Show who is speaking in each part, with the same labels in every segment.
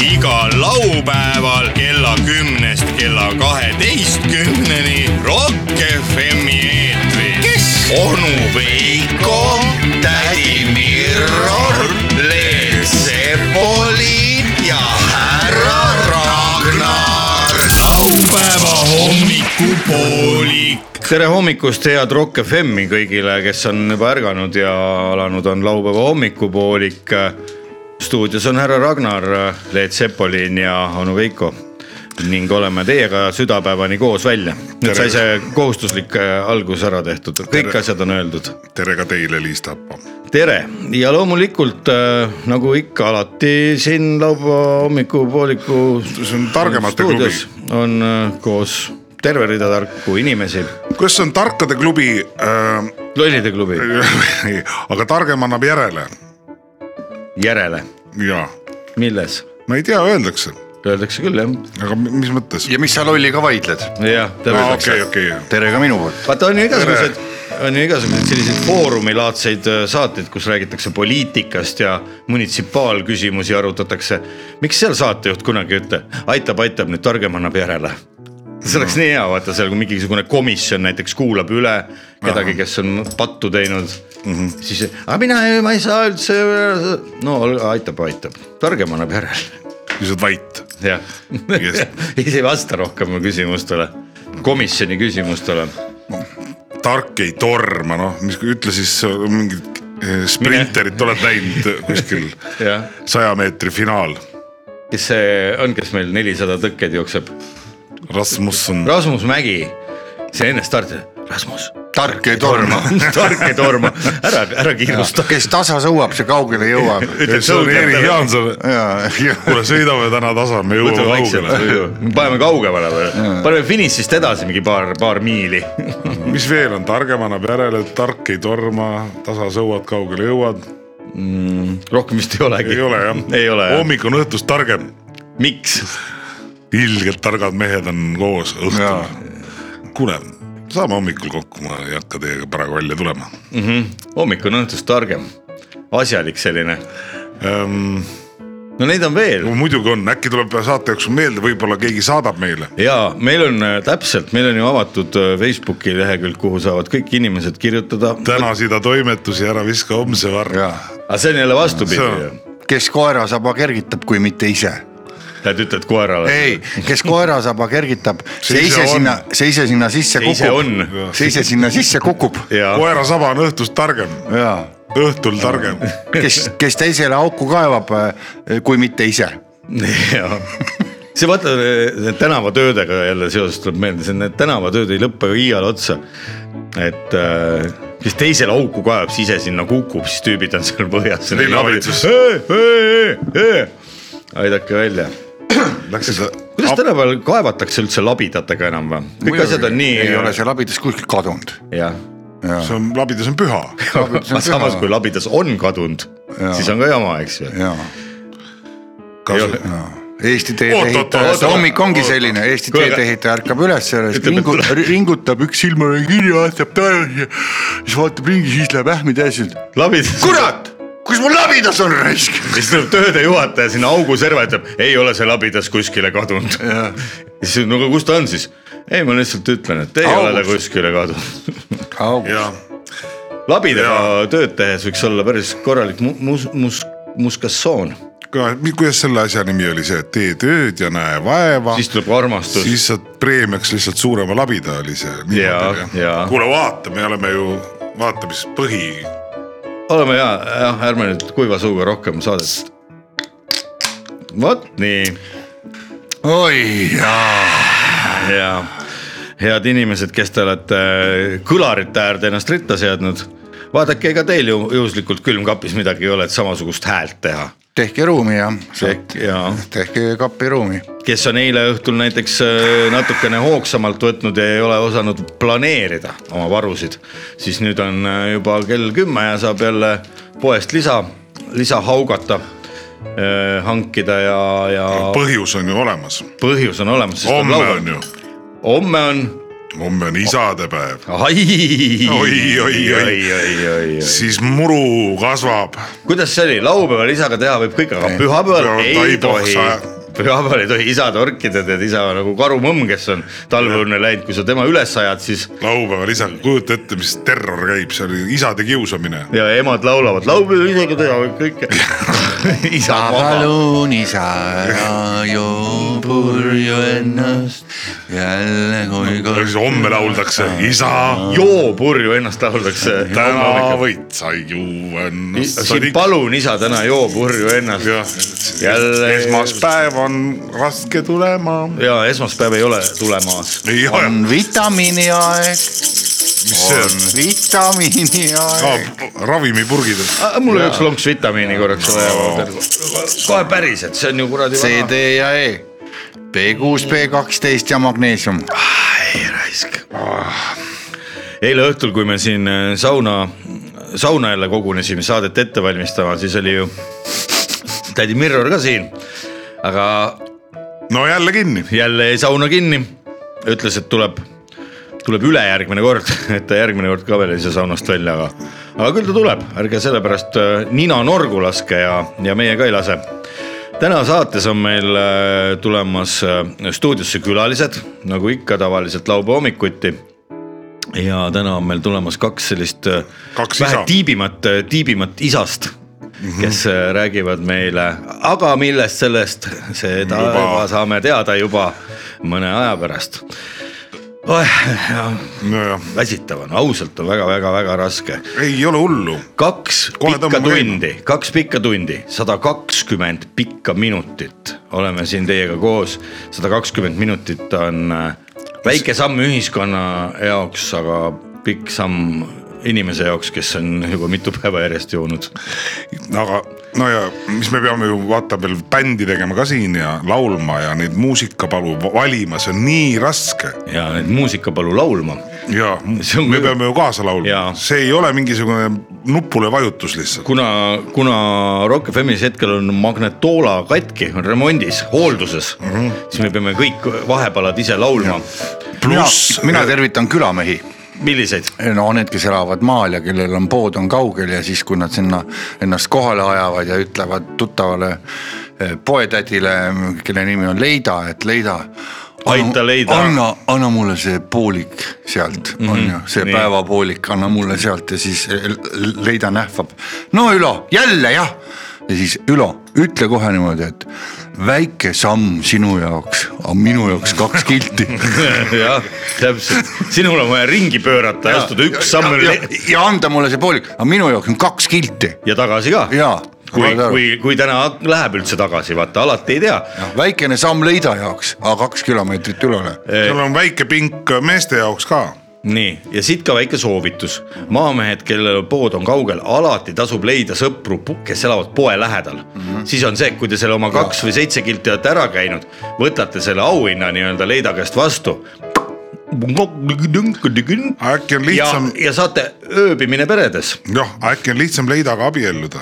Speaker 1: igal laupäeval kella kümnest kella kaheteistkümneni Rock FM-i eetris . kes ? onu Veiko , tädi Mirror , Leel Sepoli ja härra Ragnar . laupäeva hommikupoolik . tere hommikust , head Rock FM-i kõigile , kes on juba ärganud ja alanud on laupäeva hommikupoolik . äh, stuudios on härra Ragnar , Leet Sepolin ja onu Veiko ning oleme teiega südapäevani koos välja . nüüd sai see kohustuslik äh, algus ära tehtud , kõik
Speaker 2: Tere.
Speaker 1: asjad on öeldud .
Speaker 2: tere ka teile , Liis Tappa .
Speaker 1: tere ja loomulikult äh, nagu ikka alati siin laupäeva hommikupooliku .
Speaker 2: See on targemate
Speaker 1: on äh, koos terve rida tarku inimesi ,
Speaker 2: kas see on tarkade klubi äh, ,
Speaker 1: lollide klubi
Speaker 2: aga targem annab järele
Speaker 1: järele ,
Speaker 2: ja
Speaker 1: milles
Speaker 2: ma ei tea , öeldakse ,
Speaker 1: öeldakse küll jah ,
Speaker 2: aga mi- mis mõttes ?
Speaker 3: ja mis sa lolliga vaidled ?
Speaker 1: jah , täpselt .
Speaker 2: okei , okei ,
Speaker 3: tere ka minu poolt .
Speaker 1: vaata on ju igasugused , on ju igasuguseid selliseid foorumilaadseid äh, saateid , kus räägitakse poliitikast ja munitsipaalküsimusi arutatakse . miks seal saatejuht kunagi ei ütle , aitab , aitab , nüüd targem annab järele ? see oleks nii hea , vaata seal , kui mingisugune komisjon näiteks kuulab üle kedagi , kes on pattu teinud mm , -hmm. siis , aga mina , ma ei saa üldse , no ol- aitab , aitab , targem annab järele ,
Speaker 2: lihtsalt vait .
Speaker 1: jah
Speaker 2: Just. .
Speaker 1: ise ei vasta rohkem mu küsimustele , komisjoni küsimustele
Speaker 2: tark ei torma , noh , mis ütle siis äh, mingit äh, sprinterit oled näinud äh, kuskil
Speaker 1: Jah.
Speaker 2: saja meetri finaal .
Speaker 1: kes see on , kes meil nelisada tõkkeid jookseb ,
Speaker 2: Rasmusson ,
Speaker 1: Rasmus Mägi , see enne starti , Rasmus ,
Speaker 3: tark ei torma .
Speaker 1: tark ei torma , ära , ära kiirusta .
Speaker 3: kes tasa sõuab , see kaugele jõuab .
Speaker 1: Ütleb
Speaker 2: see on
Speaker 1: sõudjatele.
Speaker 2: Erik Jaanson ,
Speaker 3: ja , ja
Speaker 2: kuule sõidame täna tasa , me jõuame kaugele .
Speaker 1: paneme kaugemale või , paneme finišist edasi mingi paar , paar miili .
Speaker 2: mis veel on , targem annab järele , tark ei torma , tasa sõuad , kaugele jõuad .
Speaker 1: rohkem vist ei olegi .
Speaker 2: ei ole jah
Speaker 1: ei ole jah ,
Speaker 2: hommik on õhtust targem ,
Speaker 1: miks ?
Speaker 2: ilgelt targad mehed on koos
Speaker 3: Jaa.
Speaker 2: õhtul . kuule , saame hommikul kokku , ma ei hakka teiega praegu välja tulema
Speaker 1: hommik on õhtust targem , asjalik selline ,
Speaker 2: ähm, .
Speaker 1: no neid on veel
Speaker 2: muidugi on , äkki tuleb saate jooksul meelde , võib-olla keegi saadab meile .
Speaker 1: ja meil on äh, täpselt , meil on ju avatud äh, Facebooki lehekülg , kuhu saavad kõik inimesed kirjutada .
Speaker 2: täna sida toimetusi , ära viska homse varra .
Speaker 3: ja ,
Speaker 1: aga see on jälle vastupidi
Speaker 2: See
Speaker 1: ju
Speaker 2: on-
Speaker 3: kes koera saba kergitab , kui mitte ise .
Speaker 1: Lähed ütled koerale .
Speaker 3: ei , kes koera saba kergitab ,
Speaker 2: See
Speaker 3: see
Speaker 2: ise
Speaker 3: ise
Speaker 2: on.
Speaker 3: sinna , see ise sinna sisse
Speaker 1: See ise
Speaker 3: kukub
Speaker 1: on. .
Speaker 3: see ise sinna sisse kukub .
Speaker 1: ja ,
Speaker 2: koera saba on õhtust targem ,
Speaker 3: ja
Speaker 2: õhtul targem .
Speaker 3: kes , kes teisele auku kaevab , kui mitte ise .
Speaker 1: ja see vaata need tänavatöödega jälle seoses tuleb meelde , see need tänavatööd ei lõppe ju iial otsa . et äh, kes teisele auku kaevab , siis ise sinna kukub , siis tüübid on seal põhjas .
Speaker 2: Linnavalitsus.
Speaker 1: aidake välja ,
Speaker 2: Läksid
Speaker 1: kuidas tänapäeval kaevatakse üldse labidatega enam või ? kõik asjad on nii .
Speaker 3: ei ole see labidas kuskilt kadunud .
Speaker 1: jah ,
Speaker 2: see on , labidas on püha .
Speaker 1: aga samas kui labidas on kadunud ,
Speaker 3: Jaa.
Speaker 1: siis on ka jama , eks ju .
Speaker 3: ja , ja Eesti
Speaker 2: Oot, oot, oot,
Speaker 3: teedeehitaja ,
Speaker 2: oot,
Speaker 3: see hommik ongi
Speaker 2: oot,
Speaker 3: selline , Eesti
Speaker 1: Kuule, aga-
Speaker 3: teedeehitaja ärkab üles ,
Speaker 1: Ütleme, et
Speaker 3: ringu-
Speaker 1: tule- ,
Speaker 3: ringutab üks silm on kirja , vaatab tagasi , siis vaatab ringi , siis läheb ähmi täis , ütleb
Speaker 1: labidas .
Speaker 3: kurat , kus mul labidas on raisk .
Speaker 1: ja siis tuleb tööde juhataja sinna auguserva , ütleb ei ole see labidas kuskile kadunud . ja siis no aga kus ta on siis ? ei , ma lihtsalt ütlen , et ei Augus. ole ta
Speaker 3: Augus.
Speaker 1: kuskile kadunud .
Speaker 2: jah ,
Speaker 1: labidaga tööd tehes võiks olla päris korralik mu- mus- , mus- , muskassoon ,
Speaker 2: kuidas selle asja nimi oli see , tee tööd ja näe vaeva
Speaker 1: siis tuleb armastus siis...
Speaker 2: siis saad preemiaks lihtsalt suurema labida oli see .
Speaker 1: Jaa, jaa.
Speaker 2: kuule vaata , me oleme ju , vaata , mis põhi .
Speaker 1: oleme ja , jah , ärme nüüd kuiva suuga rohkem saadet . vot nii
Speaker 3: oi jaa .
Speaker 1: ja head inimesed , kes te olete äh, kõlarite äärde ennast ritta seadnud , vaadake , ega teil ju juhuslikult külmkapis midagi ei ole , et samasugust häält teha
Speaker 3: tehke ruumi jah ,
Speaker 1: Ehk ja
Speaker 3: tehke kapi ruumi .
Speaker 1: kes on eile õhtul näiteks äh, natukene hoogsamalt võtnud ja ei ole osanud planeerida oma varusid , siis nüüd on äh, juba kell kümme ja saab jälle poest lisa , lisa haugata , hankida ja , ja
Speaker 2: põhjus on ju olemas ,
Speaker 1: põhjus on olemas .
Speaker 2: homme on ju ,
Speaker 1: homme on
Speaker 2: homme on isadepäev ,
Speaker 1: ai ,
Speaker 2: Oi, oi, oi.
Speaker 1: oi , oi , oi .
Speaker 2: siis muru kasvab .
Speaker 1: kuidas see oli , laupäeval isaga teha võib kõik , aga pühapäeval
Speaker 2: Pühapäeval
Speaker 1: ei
Speaker 2: taiboks
Speaker 1: tohi
Speaker 2: ajab. .
Speaker 1: pühapäeval ei tohi isa torkida , tead isa on nagu karumõmm , kes on talveõnne läinud , kui sa tema üles ajad , siis
Speaker 2: laupäeval isaga , kujuta ette , mis terror käib , see oli isade kiusamine .
Speaker 1: ja emad laulavad laupäeval isaga teha võib kõike . isa on vaba .
Speaker 4: palun isa , ära joo purju ennast jälle kui
Speaker 2: aga
Speaker 4: kord
Speaker 2: siis . homme lauldakse isa ,
Speaker 1: joo purju ennast lauldakse .
Speaker 2: täna võid sa juua ennast .
Speaker 1: siin palun isa täna joo purju ennast . Jälle-
Speaker 2: jälle . esmaspäev on raske tulema .
Speaker 1: ja esmaspäev ei ole tulemaas .
Speaker 2: ei ole ,
Speaker 4: on vitamiini aeg ,
Speaker 2: mis see on ?
Speaker 4: vitamiini aeg .
Speaker 2: aa , ravimipurgid .
Speaker 1: Ah, mul on üks lonks vitamiini korraks vaja . kohe päriselt , see on ju kuradi .
Speaker 4: C , D ja E . B6 , B12 ja magneesium .
Speaker 1: ei raisk .
Speaker 4: Ah.
Speaker 1: eile õhtul , kui me siin äh, sauna , sauna jälle kogunesime saadet ette valmistama , siis oli ju tädi Mirror ka siin . aga
Speaker 2: no jälle kinni .
Speaker 1: jälle jäi sauna kinni , ütles , et tuleb , tuleb ülejärgmine kord , et ta järgmine kord ka veel ei saa saunast välja , aga , aga küll ta tuleb , ärge sellepärast äh, nina norgu laske ja , ja meie ka ei lase täna saates on meil äh, tulemas äh, stuudiosse külalised , nagu ikka tavaliselt laupäeva hommikuti . ja täna on meil tulemas kaks sellist äh,
Speaker 2: Kaks
Speaker 1: vähe
Speaker 2: isa.
Speaker 1: tiibimat , tiibimat isast , kes äh, räägivad meile , aga millest sellest , seda
Speaker 2: Juba.
Speaker 1: juba. juba saame teada juba mõne aja pärast oh, .
Speaker 2: nojah ,
Speaker 1: väsitav on , ausalt on väga-väga-väga raske
Speaker 2: ei ole hullu .
Speaker 1: kaks
Speaker 2: Kohe
Speaker 1: pikka
Speaker 2: tõmbame
Speaker 1: tundi , kaks pikka tundi , sada kakskümmend pikka minutit oleme siin teiega koos . sada kakskümmend minutit on äh, väike samm ühiskonna jaoks , aga pikk samm inimese jaoks , kes on juba mitu päeva järjest joonud .
Speaker 2: aga no ja mis me peame ju vaata veel bändi tegema ka siin ja laulma ja neid muusikapalu va- valima , see on nii raske .
Speaker 1: ja nüüd muusika palu laulma .
Speaker 2: ja
Speaker 1: See on
Speaker 2: me
Speaker 1: küll-
Speaker 2: peame ju kaasa laulma
Speaker 1: Jaa. ,
Speaker 2: see ei ole mingisugune nupule vajutus lihtsalt .
Speaker 1: kuna , kuna Rock FM-is hetkel on magnetoola katki , on remondis , hoolduses mm ,
Speaker 2: Mhm.
Speaker 1: -hmm. siis me peame kõik vahepalad ise laulma .
Speaker 2: pluss ,
Speaker 4: mina tervitan külamehi
Speaker 1: milliseid ?
Speaker 4: no need , kes elavad maal ja kellel on pood on kaugel ja siis , kui nad sinna ennast kohale ajavad ja ütlevad tuttavale eh, poetädile , kelle nimi on Leida , et Leida .
Speaker 1: Aita Leida. Mhm,
Speaker 4: anna , anna mulle see poolik sealt mm , -hmm. on ju , see
Speaker 1: nii.
Speaker 4: nii. päevapoolik , anna mulle sealt ja siis L- Leida nähvab . no Ülo , jälle jah . ja siis Ülo , ütle kohe niimoodi , et väike samm sinu jaoks , aga minu jaoks kaks kilti
Speaker 1: jah , täpselt , sinul on vaja ringi pöörata ja astuda üks samm
Speaker 4: ja,
Speaker 1: üle
Speaker 4: ja, ja anda mulle see poolik , aga minu jaoks on kaks kilti
Speaker 1: ja tagasi ka .
Speaker 4: ja .
Speaker 1: kui , kui , kui täna läheb üldse tagasi , vaata alati ei tea .
Speaker 4: väikene samm leida jaoks , aga kaks kilomeetrit ülele .
Speaker 2: seal on väike pink meeste jaoks ka .
Speaker 1: nii , ja siit ka väike soovitus , maamehed , kellel pood on kaugel , alati tasub leida sõpru , kes elavad poe lähedal mm . -hmm. siis on see , kui te selle oma kaks või seitse kilti olete ära käinud , võtate selle auhinna nii-öelda leida käest vastu .
Speaker 2: äkki on
Speaker 1: ja
Speaker 2: lihtsam ,,
Speaker 1: ja saate ööbimine peredes
Speaker 2: jah , Noh, äkki on lihtsam leidaga abielluda .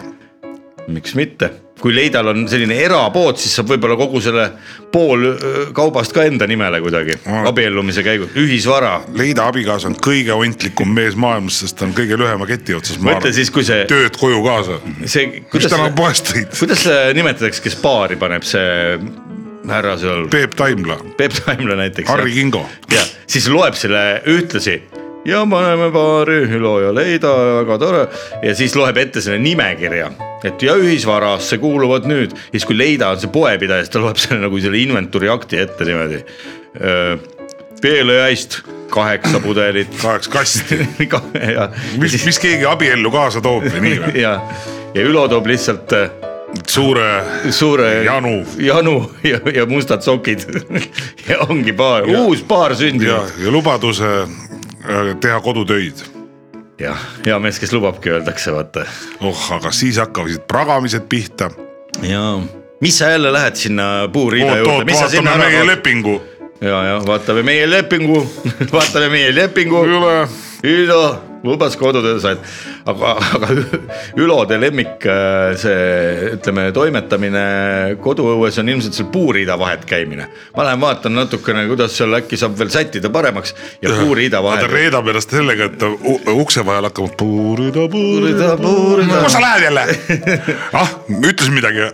Speaker 1: miks mitte , kui Leidal on selline erapood , siis saab võib-olla kogu selle pool öö, kaubast ka enda nimele kuidagi
Speaker 2: Ma-
Speaker 1: abiellumise käigus , ühisvara .
Speaker 2: leida abikaasa on kõige ontlikum mees maailmas , sest ta on kõige lühema keti otsas .
Speaker 1: mõtle siis , kui see ,
Speaker 2: tööd koju kaasa .
Speaker 1: see ,
Speaker 2: mis
Speaker 1: kuidas
Speaker 2: täna , poest tõid ?
Speaker 1: kuidas seda nimetatakse , kes paari paneb see härra seal ,
Speaker 2: Peep Taimla ,
Speaker 1: Peep Taimla näiteks .
Speaker 2: Harri Kingo .
Speaker 1: ja siis loeb selle ühtlasi ja paneme paari Ülo ja Leida , väga tore . ja siis loeb ette selle nimekirja , et ja ühisvarasse kuuluvad nüüd , siis kui Leida on see poepidaja , siis ta loeb selle nagu selle inventuuri akti ette niimoodi . peelejäist kaheksa pudelit
Speaker 2: kaheksa kasti .
Speaker 1: ja , ja ,
Speaker 2: mis , mis keegi abiellu kaasa toob või nii või ?
Speaker 1: ja, ja Ülo toob lihtsalt äh,
Speaker 2: suure
Speaker 1: suure
Speaker 2: janu
Speaker 1: janu ja, ja mustad sokid ja ongi paar , uus paar
Speaker 2: ja
Speaker 1: sündinud .,
Speaker 2: ja lubaduse äh, teha kodutöid .
Speaker 1: jah , hea mees , kes lubabki , öeldakse , vaata
Speaker 2: oh , aga siis hakkavad pragamised pihta .
Speaker 1: jaa , mis sa jälle lähed sinna puuriida juurde ,
Speaker 2: oot-oot ,
Speaker 1: mis sa sinna
Speaker 2: vaatame
Speaker 1: ära
Speaker 2: meie
Speaker 1: kaotad ?
Speaker 2: lepingu .
Speaker 1: ja , ja vaatame meie lepingu , vaatame meie lepingu .
Speaker 2: ei ole ,
Speaker 1: Hiina lubas kodutöö said , aga , aga Ü- Ülode lemmik , see ütleme , toimetamine koduõues on ilmselt seal puuriida vahet käimine . ma lähen vaatan natukene , kuidas seal äkki saab veel sättida paremaks ja puuriida
Speaker 2: ta
Speaker 1: vahet .
Speaker 2: reedab ennast sellega , et ta u- ukse vahel hakkab puurida , puurida ,
Speaker 1: puurida , puurida
Speaker 2: kus sa lähed jälle ? ah , ütles midagi .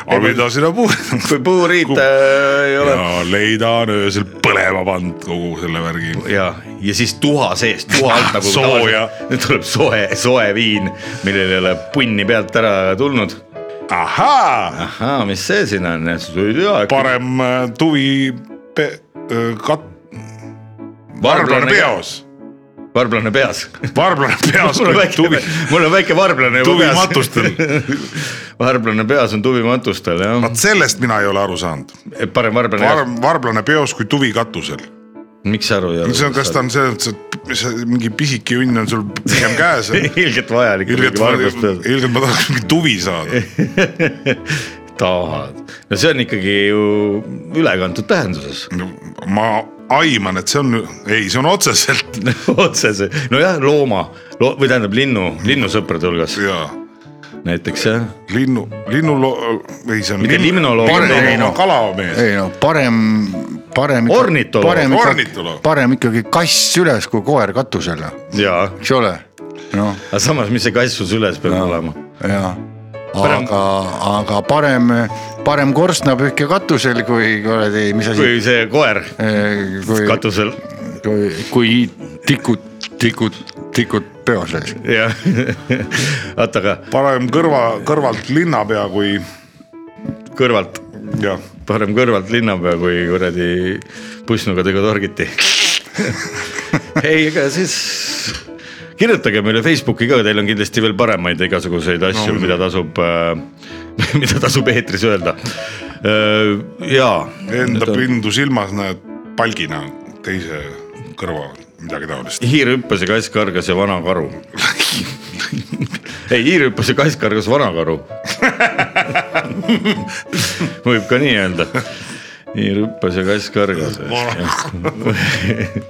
Speaker 2: aga mida sina puurid ?
Speaker 1: või puuriit äh, ei ole .
Speaker 2: ja leida on öösel põlema pannud kogu selle värgi .
Speaker 1: ja , ja siis tuha seest , tuha alt nagu
Speaker 2: Ah, Sooja.
Speaker 1: tavaliselt. nüüd tuleb soe , soe viin , millel ei ole punni pealt ära tulnud .
Speaker 2: ahaa ,
Speaker 1: ahhaa , mis see siin on , ei tea .
Speaker 2: parem äh, tuvi pe- , kat- , varblane . peos ,
Speaker 1: varblane peas .
Speaker 2: varblane peos
Speaker 1: mul on
Speaker 2: kui
Speaker 1: väike
Speaker 2: tuvi ,,
Speaker 1: mul on väike varblane juba
Speaker 2: tuvi
Speaker 1: peas .
Speaker 2: matustel .
Speaker 1: varblane peas on tuvi matustel jah ,
Speaker 2: vaat sellest mina ei ole aru saanud .
Speaker 1: parem varblane
Speaker 2: Var,
Speaker 1: Varb... ,
Speaker 2: varblane peos kui tuvi katusel .
Speaker 1: miks sa aru ei
Speaker 2: see on , kas ta
Speaker 1: ole ?
Speaker 2: on selles mõttes , et p- see mingi pisike junn on sul pigem käes .
Speaker 1: ilgelt vajalik .
Speaker 2: ilgelt , ilgelt ma tahaks mingi tuvi saada .
Speaker 1: tahad , no see on ikkagi ju ülekantud tähenduses
Speaker 2: ma aiman , et see on , ei , see on otseselt
Speaker 1: otsese , nojah , looma Lo, või tähendab linnu , linnusõprade hulgas
Speaker 2: jaa ,
Speaker 1: näiteks jah ,
Speaker 2: linnu , linnuloo- , ei see on .
Speaker 1: Mitte limnoloog,
Speaker 2: parem
Speaker 1: ei,
Speaker 2: ei,
Speaker 1: no.
Speaker 2: no. kalamees ,
Speaker 4: ei no parem , parem .
Speaker 1: Ornitoloog.
Speaker 4: parem ikkagi
Speaker 2: Ornitoloog. ,
Speaker 4: parem ikkagi kass üles kui koer katusele ,
Speaker 1: jaa ,
Speaker 4: eks ole . noh ,
Speaker 1: aga samas , mis see kass sul süles peab no. olema ?
Speaker 4: ja , aga , aga parem , parem korstnapühkja katusel kui kuradi , mis asi .
Speaker 1: kui see koer
Speaker 4: kui ,
Speaker 1: katusel
Speaker 4: kui , kui tikud , tikud , tikud peo sees .
Speaker 1: ja vaata aga
Speaker 2: parem kõrva , kõrvalt linnapea kui
Speaker 1: kõrvalt ,
Speaker 2: jah ,
Speaker 1: parem kõrvalt linnapea kui kuradi pussnugadega torgiti . ei , ega siis kirjutage meile Facebooki ka , teil on kindlasti veel paremaid igasuguseid asju no, , mida tasub , mida tasub eetris öelda . jaa .
Speaker 2: enda pindu silmas näed palgina teise kõrva , midagi taolist .
Speaker 1: hiir hüppas ja kass kargas ja vana karu . ei , hiir hüppas ja kass kargas vana karu . võib ka nii öelda . hiir hüppas ja kass kargas .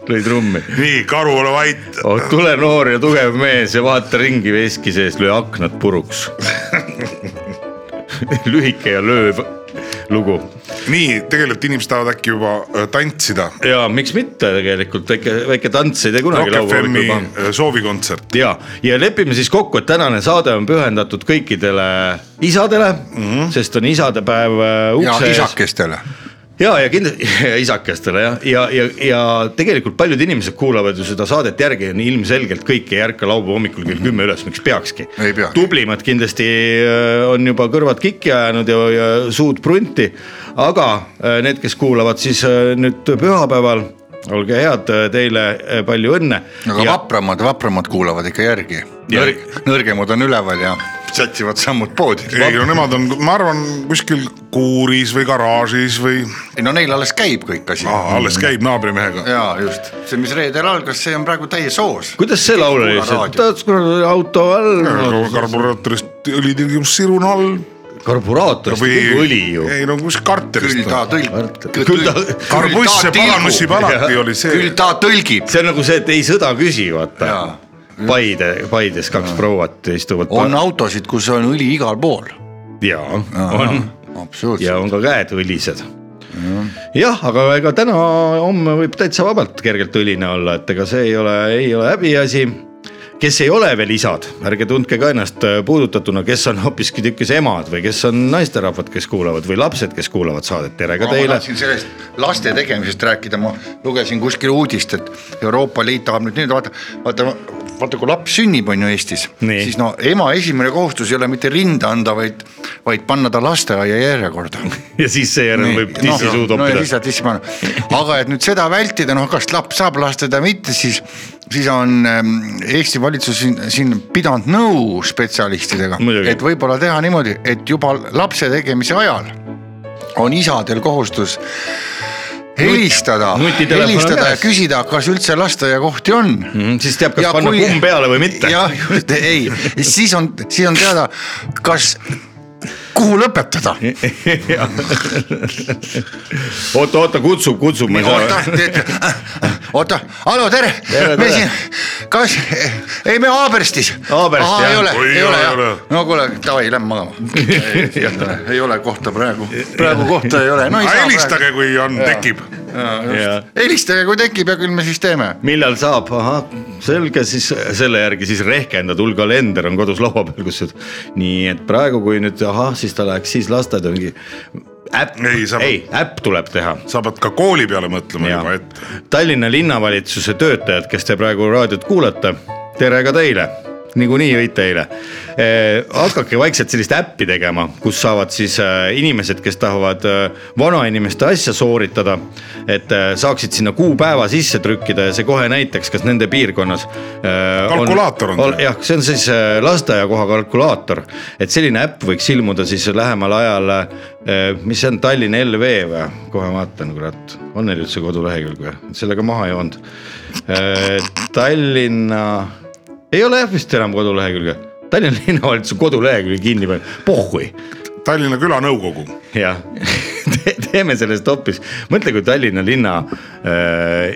Speaker 1: lõi trummi .
Speaker 2: nii , karu ole vait ,
Speaker 1: Oh, tule noor ja tugev mees ja vaata ringi veski sees , löö aknad puruks . lühike ja lööv lugu
Speaker 2: nii tegelikult inimesed tahavad äkki juba äh, tantsida .
Speaker 1: ja miks mitte tegelikult väike , väike tants ei tee kunagi
Speaker 2: Rock
Speaker 1: laupäeval
Speaker 2: FM-i
Speaker 1: ikka paha.
Speaker 2: äh, soovikontsert ,
Speaker 1: ja , ja lepime siis kokku , et tänane saade on pühendatud kõikidele isadele mm ,
Speaker 4: Mhm.
Speaker 1: -hmm. sest on isadepäev äh,
Speaker 4: ja
Speaker 1: ukse ees .
Speaker 4: isakestele .
Speaker 1: ja , ja kindlasti isakestele jah , ja, ja , ja , ja tegelikult paljud inimesed kuulavad ju seda saadet järgi ja nii ilmselgelt kõik ei ärka laupäeva hommikul kell kümme üles , miks peakski
Speaker 4: Mhm. Ei peagi.
Speaker 1: tublimad kindlasti äh, on juba kõrvad kikki ajanud ja, ja suud prunti . aga äh, need , kes kuulavad siis äh, nüüd pühapäeval , olge head , teile äh, palju õnne .
Speaker 4: aga vapramad , vapramad kuulavad ikka järgi .
Speaker 1: Ja-
Speaker 4: nõrgemad on üleval ja sätsivad sammud poodi .
Speaker 2: ei no nemad on , ma arvan , kuskil kuuris või garaažis või
Speaker 4: ei no neil alles käib kõik asi .
Speaker 2: ah,
Speaker 1: Mm.
Speaker 2: alles käib naabrimehega .
Speaker 4: ja just , see , mis reedel algas , see on praegu täies hoos .
Speaker 1: kuidas see laul oli ,
Speaker 4: Kuula
Speaker 1: see
Speaker 4: raadiot.
Speaker 1: tatskuradi auto all ,
Speaker 2: karburaatorist õlitilgimus sirun all
Speaker 1: karburaator , see
Speaker 2: või
Speaker 1: kõik oli ju .
Speaker 2: ei no kus karterist
Speaker 4: küll ta tõlgib .
Speaker 1: Küll ta-
Speaker 2: Karbuss ja Palamussi palati oli see
Speaker 4: küll , ta tõlgib .
Speaker 1: see on nagu see , et ei sõda küsi , vaata
Speaker 4: Jaa. .
Speaker 1: Paide , Paides kaks prouat istuvad .
Speaker 4: on autosid , kus on õli igal pool .
Speaker 1: ja on ja
Speaker 4: absoluutselt .
Speaker 1: on ka käed õlised . jah , aga ega täna , homme võib täitsa vabalt kergelt õline olla , et ega see ei ole , ei ole häbiasi kes ei ole veel isad , ärge tundke ka ennast äh, puudutatuna , kes on hoopiski tükis emad või kes on naisterahvad , kes kuulavad või lapsed , kes kuulavad saadet , tere ka
Speaker 4: ma
Speaker 1: teile .
Speaker 4: tahtsin sellest laste tegemisest rääkida , ma lugesin kuskil uudist , et Euroopa Liit tahab nüüd nüüd vaata , vaata , vaata , kui laps sünnib , on ju Eestis ,
Speaker 1: Nii.
Speaker 4: siis no ema esimene kohustus ei ole mitte rinda anda , vaid , vaid panna ta lasteaia järjekorda
Speaker 1: ja siis seejärel võib
Speaker 4: Noh,
Speaker 1: tissi suhu
Speaker 4: no ja
Speaker 1: toppida
Speaker 4: siis . saad sisse panna , aga et nüüd seda vältida , noh kas laps saab lasteda või mitte , siis , siis on ähm, Eesti valitsus siin, siin pidanud nõu spetsialistidega
Speaker 1: Muidugi. ,
Speaker 4: et võib-olla teha niimoodi , et juba lapse tegemise ajal on isadel kohustus helistada ,
Speaker 1: nutitelefon on
Speaker 4: helistada ja
Speaker 1: käes.
Speaker 4: küsida , kas üldse lasteaiakohti on
Speaker 1: Mhm, siis teab , kas panna kumm peale või mitte .
Speaker 4: jah , just , ei , siis on , siis on teada , kas , kuhu lõpetada
Speaker 1: oota , oota , kutsub , kutsub , ma ei saa .
Speaker 4: oota , oota , hallo , tere,
Speaker 1: Tere,
Speaker 4: me
Speaker 1: tere.
Speaker 4: siin , kas , ei me Haaberstis .
Speaker 1: Haabersti,
Speaker 4: ei
Speaker 1: jah.
Speaker 4: ole ,
Speaker 2: Oi,
Speaker 4: ei ole
Speaker 2: ei
Speaker 4: jah
Speaker 2: ole. ,
Speaker 4: no kuule , davai , lähme magama . ei ole kohta praegu , praegu kohta ei ole , no ei saa
Speaker 2: helistage , kui on , tekib .
Speaker 1: ja
Speaker 4: praegu . helistage , kui tekib ja küll me siis teeme .
Speaker 1: millal saab , ahah , selge , siis selle järgi siis rehkendad , hull kalender on kodus laua peal , kus üt- nii et praegu , kui nüüd ahah , siis ta läheks siis lasteaeda mingi äpp ,
Speaker 2: Ei, sa-
Speaker 1: ei äpp tuleb teha .
Speaker 2: sa pead ka kooli peale mõtlema
Speaker 1: Ja.
Speaker 2: juba ette .
Speaker 1: Tallinna linnavalitsuse töötajad , kes te praegu raadiot kuulate , tere ka teile , niikuinii võite eile . hakake vaikselt sellist äppi tegema , kus saavad siis eh, inimesed , kes tahavad eh, vanainimeste asja sooritada , et eh, saaksid sinna kuupäeva sisse trükkida ja see kohe näitaks , kas nende piirkonnas . eh,
Speaker 2: Kalkulaator on see.
Speaker 1: Äh, jah , see on siis eh, lasteaiakoha kalkulaator , et selline äpp võiks ilmuda siis lähemal ajal . mis see on , Tallinna LV või , kohe vaatan , kurat , on neil üldse kodulehekülg või , sellega maha joonud . Tallinna , ei ole jah vist enam kodulehekülge , Tallinna linnavalitsuse kodulehekülge kinni pannud , pohhui
Speaker 2: Tallinna külanõukogu ,
Speaker 1: jah Te, , teeme sellest hoopis , mõtle , kui Tallinna linna äh,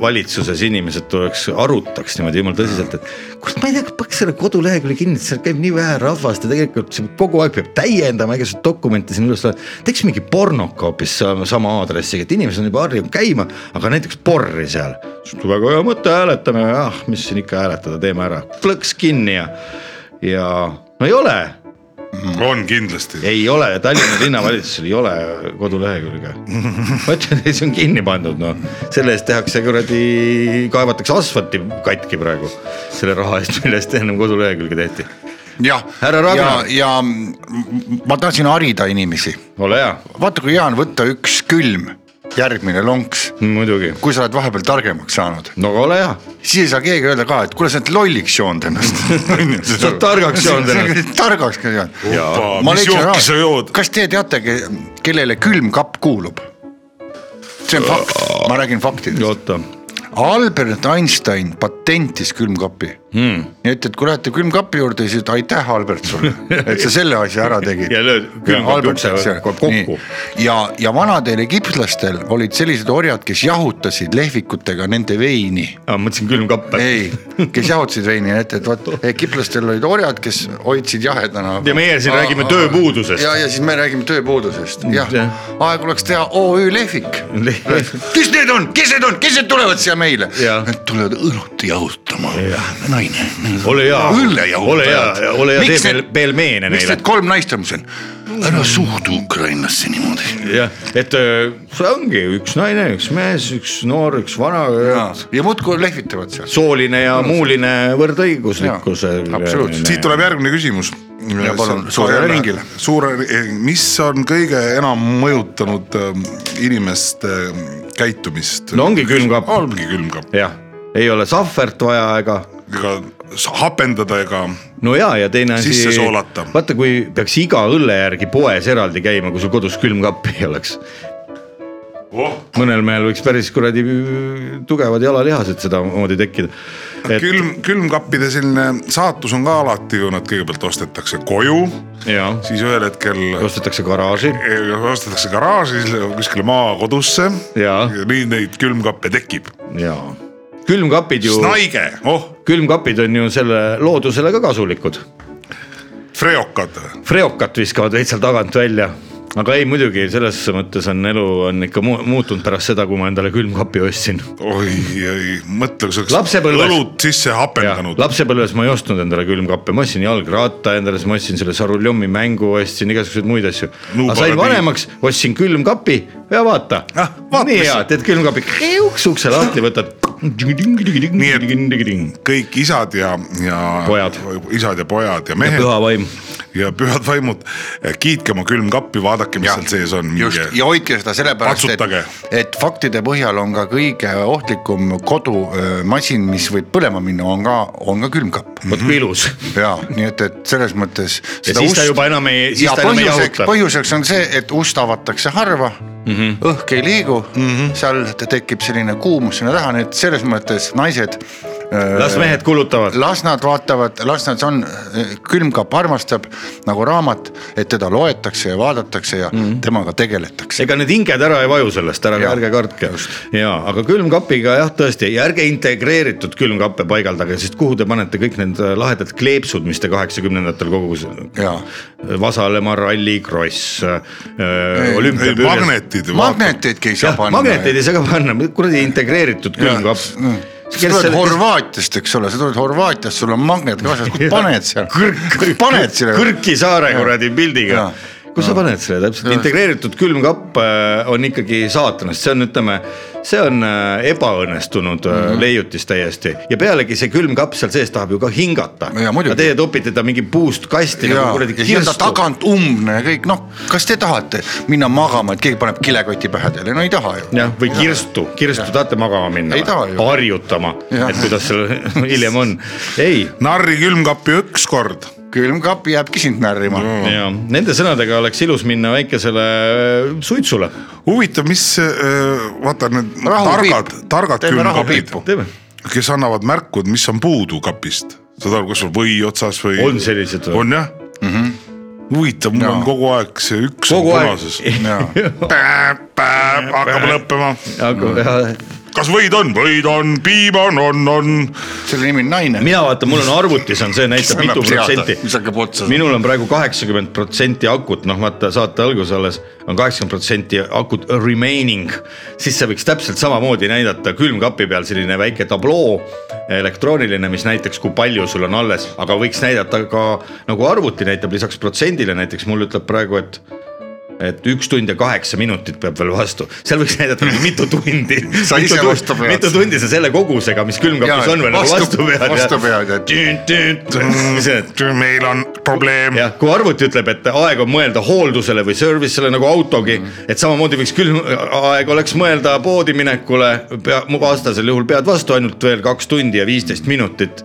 Speaker 1: valitsuses inimesed tuleks , arutaks niimoodi jumala tõsiselt , et kurat , ma ei tea , paneks selle kodulehekülje kinni , seal käib nii vähe rahvast ja tegelikult see kogu aeg peab täiendama igasuguseid dokumente siin üles , teeks mingi pornoka hoopis sa- sama aadressiga , et inimesed on juba harjunud käima , aga näiteks porri seal . väga hea mõte , hääletame , ah , mis siin ikka hääletada , teeme ära , plõks kinni ja , ja no ei ole
Speaker 4: Mm.
Speaker 2: on kindlasti .
Speaker 1: ei ole , Tallinna linnavalitsusel ei ole kodulehekülge . ma ütlen , et see on kinni pandud , noh , selle eest tehakse kuradi , kaevatakse asfalti katki praegu selle raha eest , mille eest ennem kodulehekülge tehti .
Speaker 4: jah ,
Speaker 1: Härra Ragnar.
Speaker 4: ja, ja m- ma tahtsin harida inimesi ,
Speaker 1: ole hea ,
Speaker 4: vaata kui hea on võtta üks külm , järgmine lonks ,
Speaker 1: muidugi ,
Speaker 4: kui sa oled vahepeal targemaks saanud ,
Speaker 1: no aga ole hea ,
Speaker 4: siis ei saa keegi öelda ka , et kuule , sa oled lolliks joonud ennast .
Speaker 1: sa oled targaks joonud ennast .
Speaker 4: targaks ka joonud . Ma
Speaker 2: mis
Speaker 4: leidsin
Speaker 2: jooki
Speaker 4: raha-
Speaker 2: sa jood ?
Speaker 4: kas te teate , kellele külmkapp kuulub ? see on fakt , ma räägin faktidest .
Speaker 1: oota ,
Speaker 4: Albert Einstein patentis külmkapi hmm. . nii et , et kui lähete külmkapi juurde , siis et aitäh , Albert sulle , et sa selle asja ära tegid .
Speaker 1: Ja lööd külmkapi ukse kokku.
Speaker 4: ja , ja vanadel egiptlastel olid sellised orjad , kes jahutasid lehvikutega nende veini
Speaker 1: ma mõtlesin külmkappe .
Speaker 4: ei , kes jahutasid veini , et , et vot egiptlastel olid orjad , kes hoidsid jahedana .
Speaker 1: Ja meie siin räägime tööpuudusest.
Speaker 4: ja , ja siis me räägime tööpuudusest , jah
Speaker 1: Jah. ,
Speaker 4: aeg oleks teha OÜ Lehvik . kes need on , kes need on , kes need tulevad siia meile ?
Speaker 1: Jah.
Speaker 4: Nad tulevad õlut jahutama , naine .
Speaker 1: ole hea ,
Speaker 4: õlle
Speaker 1: ole
Speaker 4: jahutajad
Speaker 1: hea , ole hea , tee
Speaker 4: Miks
Speaker 1: veel
Speaker 4: need- ,
Speaker 1: veel meene
Speaker 4: miks
Speaker 1: neile
Speaker 4: need . kolm naist on mul siin ? ära suhtu Ukrainasse niimoodi .
Speaker 1: jah , et öö, see ongi üks naine , üks mees , üks noor , üks vana
Speaker 4: ja, ja muudkui lehvitavad seal .
Speaker 1: sooline ja muuline äh, võrdõiguslikkus .
Speaker 4: Jaa, absoluutselt.
Speaker 2: siit tuleb järgmine küsimus .
Speaker 4: Ja palun, suurele ringile.
Speaker 2: suure , mis on kõige enam mõjutanud ähm, inimeste ähm, käitumist ?
Speaker 1: no ongi külmkapp ,
Speaker 2: ongi külmkapp ,
Speaker 1: jah , ei ole sahvert vaja ega ,
Speaker 2: ega s- hapendada ega
Speaker 1: no ja , ja teine asi .
Speaker 2: Sisse soolata.
Speaker 1: vaata , kui peaks iga õlle järgi poes eraldi käima , kui sul kodus külmkappi ei oleks ,
Speaker 2: oh,
Speaker 1: mõnel mehel võiks päris kuradi äh, tugevad jalalihased sedamoodi tekkida . et
Speaker 2: külm , külmkappide selline saatus on ka alati ju nad kõigepealt ostetakse koju ,
Speaker 1: ja
Speaker 2: siis ühel hetkel eh,
Speaker 1: ostetakse garaaži
Speaker 2: ostetakse garaaži , siis kuskile maakodusse
Speaker 1: ja ,
Speaker 2: ja nii neid külmkappe tekib .
Speaker 1: ja külmkapid ju ,
Speaker 2: snaige , oh ,
Speaker 1: külmkapid on ju selle loodusele ka kasulikud
Speaker 2: freokad ,
Speaker 1: freokat viskavad veits seal tagant välja , aga ei muidugi selles mõttes on elu on ikka mu muutunud pärast seda , kui ma endale külmkapi ostsin .
Speaker 2: oi , oi , mõtle , kui sa oleks
Speaker 1: Lapsepõlves-
Speaker 2: õlut sisse hapendanud .
Speaker 1: lapsepõlves ma ei ostnud endale külmkappe , ma ostsin jalgratta endale , siis ma ostsin selle Saruljomi mängu , ostsin igasuguseid muid asju .
Speaker 2: Nuu
Speaker 1: aga sain
Speaker 2: pole
Speaker 1: vanemaks , ostsin külmkapi ja vaata
Speaker 2: Ah, vaata,
Speaker 1: nii
Speaker 2: mis-
Speaker 1: hea , teed külmkapi , kriuks ukse lahti võtad . nii et .
Speaker 2: kõik isad ja , ja
Speaker 1: Pojad.
Speaker 2: isad ja pojad ja mehed ja,
Speaker 1: püha vaim ,
Speaker 2: ja pühad vaimud , kiitke oma külmkappi , vaadake , mis
Speaker 4: Jah,
Speaker 2: seal sees on .
Speaker 4: just ja hoidke seda sellepärast ,
Speaker 2: Patsutage.
Speaker 4: et , et faktide põhjal on ka kõige ohtlikum kodumasin , mis võib põlema minna , on ka , on ka külmkapp .
Speaker 1: vot kui ilus .
Speaker 4: ja nii et , et selles mõttes .
Speaker 1: siis ta juba enam ei- siis ta enam ei
Speaker 4: põhjuseks,
Speaker 1: jahuta. Mhm.
Speaker 4: põhjuseks on see , et ust avatakse harva mm , -hmm. õhk ei liigu mm , -hmm. seal te- tekib selline kuumus sinna taha , nii et selles mõttes naised . Äh.
Speaker 1: las mehed kulutavad .
Speaker 4: las nad vaatavad , las nad on , külmkapp armastab nagu raamat , et teda loetakse ja vaadatakse ja
Speaker 1: Mhm.
Speaker 4: mm -hmm. temaga tegeletakse .
Speaker 1: ega need hinged ära ei vaju sellest , ära
Speaker 4: Jaa,
Speaker 1: ärge kartke . ja aga külmkapiga jah , tõesti ja ärge integreeritud külmkappe paigaldage , sest kuhu te panete kõik need äh, lahedad kleepsud , mis te kaheksakümnendatel kogusite .
Speaker 4: jaa ,
Speaker 1: Vasalemma äh, rallikross , olümpiapürje .
Speaker 2: magnetid .
Speaker 4: magnetidki ei saa
Speaker 1: jah ,
Speaker 4: panna .
Speaker 1: magneteid ei saa ka panna , kuradi integreeritud külmkapp .
Speaker 4: sa tuled Horvaatiast , eks ole , sa tuled Horvaatiast , sul on magnet kaasas , kus paned seal , paned selle .
Speaker 1: Kõrki saare kuradi pildiga
Speaker 4: Jaa. .
Speaker 1: kus sa paned selle täpselt , integreeritud külmkapp äh, on ikkagi saatanast , see on , ütleme , see on äh, ebaõnnestunud mm
Speaker 4: Mhm.
Speaker 1: -hmm. leiutis täiesti ja pealegi see külmkapp seal sees tahab ju ka hingata .
Speaker 4: Ja muidugi.
Speaker 1: Teie topite ta mingi puust kasti
Speaker 4: ja
Speaker 1: nagu , kuradi
Speaker 4: ja siis on ta
Speaker 1: kirstu .
Speaker 4: tagant umbne ja kõik , noh , kas te tahate minna magama , et keegi paneb kilekoti pähe teile , no ei taha ju .
Speaker 1: jah , või kirstu , kirstu tahate magama minna
Speaker 4: Ei taha ju. ,
Speaker 1: harjutama ,
Speaker 4: Jah.
Speaker 1: et kuidas seal hiljem on , ei
Speaker 2: narri külmkappi ükskord .
Speaker 4: külmkapp jääbki sind närrima mm. .
Speaker 1: ja nende sõnadega oleks ilus minna väikesele äh, suitsule ,
Speaker 2: huvitav , mis äh, vaata need
Speaker 4: Rahupiip.
Speaker 2: targad , targad
Speaker 4: Teeme
Speaker 2: külmkapid
Speaker 4: rahupiipu. ,
Speaker 1: teeme
Speaker 2: kes annavad märku , et mis on puudu kapist . saad aru , kas sul või otsas või .
Speaker 1: On sellised või?
Speaker 2: või ? on jah mm . -hmm. huvitav , mul
Speaker 4: Mhm. Jaa.
Speaker 2: on kogu aeg see üks
Speaker 1: Kogu
Speaker 2: on
Speaker 1: aeg.
Speaker 2: punases . hakkab lõppema .
Speaker 4: Mm.
Speaker 1: aga jah,
Speaker 2: kas võid on , võid on , piim on , on , on .
Speaker 4: selle nimi on naine .
Speaker 1: mina vaatan , mul on arvutis on see näitab
Speaker 4: Mis
Speaker 1: mitu
Speaker 4: annab teada,
Speaker 1: protsenti
Speaker 4: mis hakkab otsa .
Speaker 1: minul on praegu kaheksakümmend protsenti akut , noh vaata saate algus alles on kaheksakümmend protsenti akut remaining . siis see võiks täpselt samamoodi näidata külmkapi peal selline väike tabloo elektrooniline , mis näitaks , kui palju sul on alles , aga võiks näidata ka nagu arvuti näitab lisaks protsendile , näiteks mul ütleb praegu , et et üks tund ja kaheksa minutit peab veel vastu , seal võiks näidata nagu mitu tundi .
Speaker 4: Sa ise vastu pead.
Speaker 1: mitu tundi sa selle kogusega , mis külmkapis
Speaker 4: Jaa,
Speaker 1: on veel nagu
Speaker 4: vastu-
Speaker 1: vastu pead .
Speaker 4: vastu pead, et-
Speaker 1: et .
Speaker 2: meil on
Speaker 4: Mhm.
Speaker 2: probleem .
Speaker 1: jah , kui arvuti ütleb , et aeg on mõelda hooldusele või service'ile nagu autogi
Speaker 4: Mhm.
Speaker 1: mm. , et samamoodi võiks küll , aeg oleks mõelda poodi minekule , pea , mu vastasel juhul pead vastu ainult veel kaks tundi ja viisteist minutit .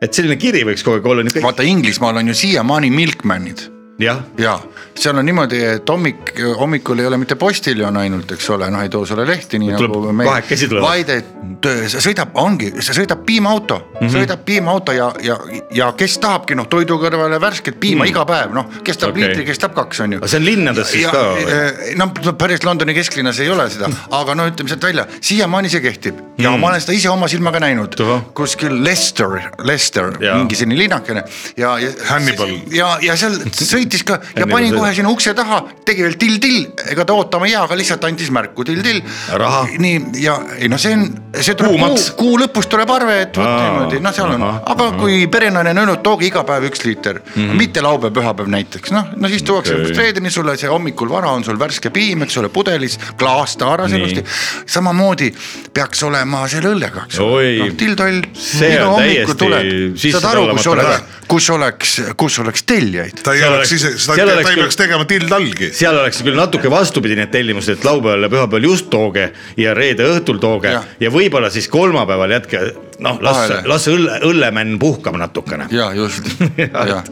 Speaker 1: et selline kiri võiks kogu aeg olla niisugune ,
Speaker 4: vaata Inglismaal on ju siiamaani milkman'id
Speaker 1: jah ,
Speaker 4: ja seal on niimoodi , et hommik , hommikul ei ole mitte postiljon ainult , eks ole , noh ei too sulle lehti , nii
Speaker 1: Tuleb
Speaker 4: nagu
Speaker 1: kahekesi tulevad.
Speaker 4: vaid et see sõidab , ongi , see sõidab piimauto mm ,
Speaker 1: Mhm.
Speaker 4: -hmm. sõidab piimauto ja , ja , ja kes tahabki noh , toidu kõrvale värsket piima mm. iga päev , noh , kes
Speaker 1: Mhm.
Speaker 4: tahab
Speaker 1: Okei.
Speaker 4: okay. liitri , kes tahab kaks , on ju .
Speaker 1: aga see on linnades siis
Speaker 4: ja
Speaker 1: ka või ?
Speaker 4: eh, no no päris Londoni kesklinnas ei ole seda ,
Speaker 1: Mm.
Speaker 4: aga no ütleme sealt välja , siiamaani see kehtib ja ma olen seda ise oma silmaga näinud
Speaker 1: Tuhah. ,
Speaker 4: kuskil Leicester , Leicester ,
Speaker 1: Jaa.
Speaker 4: mingi selline linnakene ja , ja .
Speaker 2: Hannibal.
Speaker 4: ja , ja seal sõitis ka ja
Speaker 1: Hannibal
Speaker 4: pani
Speaker 1: sõidab.
Speaker 4: kohe sinna ukse taha , tegi veel till-till , ega ta ootama ei jää , aga lihtsalt andis märku till-till .
Speaker 1: Raha.
Speaker 4: nii ja ei no see on , see tuleb kuu,
Speaker 1: Kuumaks.
Speaker 4: kuu lõpus tuleb arve , et vot
Speaker 1: Aa,
Speaker 4: niimoodi , noh , seal on ,
Speaker 1: ahah, Mhm.
Speaker 4: aga kui perenaine on öelnud , tooge iga päev üks liiter mm , -hmm. mitte laupäev , pühapäev näiteks , noh , no siis tuuakse
Speaker 1: Okei.
Speaker 4: okay. reedeni sulle see hommikul vara on sul värske piim , eks ole , pudelis , klaas taaras
Speaker 1: Nii.
Speaker 4: ilusti . samamoodi peaks olema Noh, selle õllega , eks
Speaker 1: Oi.
Speaker 4: ole , till-toll .
Speaker 1: See on täiesti sisse
Speaker 4: saad aru ,
Speaker 1: tallamatu
Speaker 4: kus oleks
Speaker 1: päev. ,
Speaker 4: kus oleks , kus oleks teljaid .
Speaker 2: ta ei
Speaker 1: Seal
Speaker 2: oleks
Speaker 1: oleks-
Speaker 2: ise , ta
Speaker 1: seal
Speaker 2: ta
Speaker 1: oleks
Speaker 2: ei
Speaker 1: küll-
Speaker 2: peaks tegema till-tallgi .
Speaker 1: seal oleks küll natuke vastupidine tellimus , et laupäeval ja pühapäeval just tooge ja reede õhtul tooge ja,
Speaker 4: Jah.
Speaker 1: ja võib-olla siis kolmapäeval jätke , noh , las
Speaker 4: Vahele. ,
Speaker 1: las õlle , õllemänn puhkab natukene .
Speaker 4: ja just
Speaker 1: Ja,
Speaker 4: ja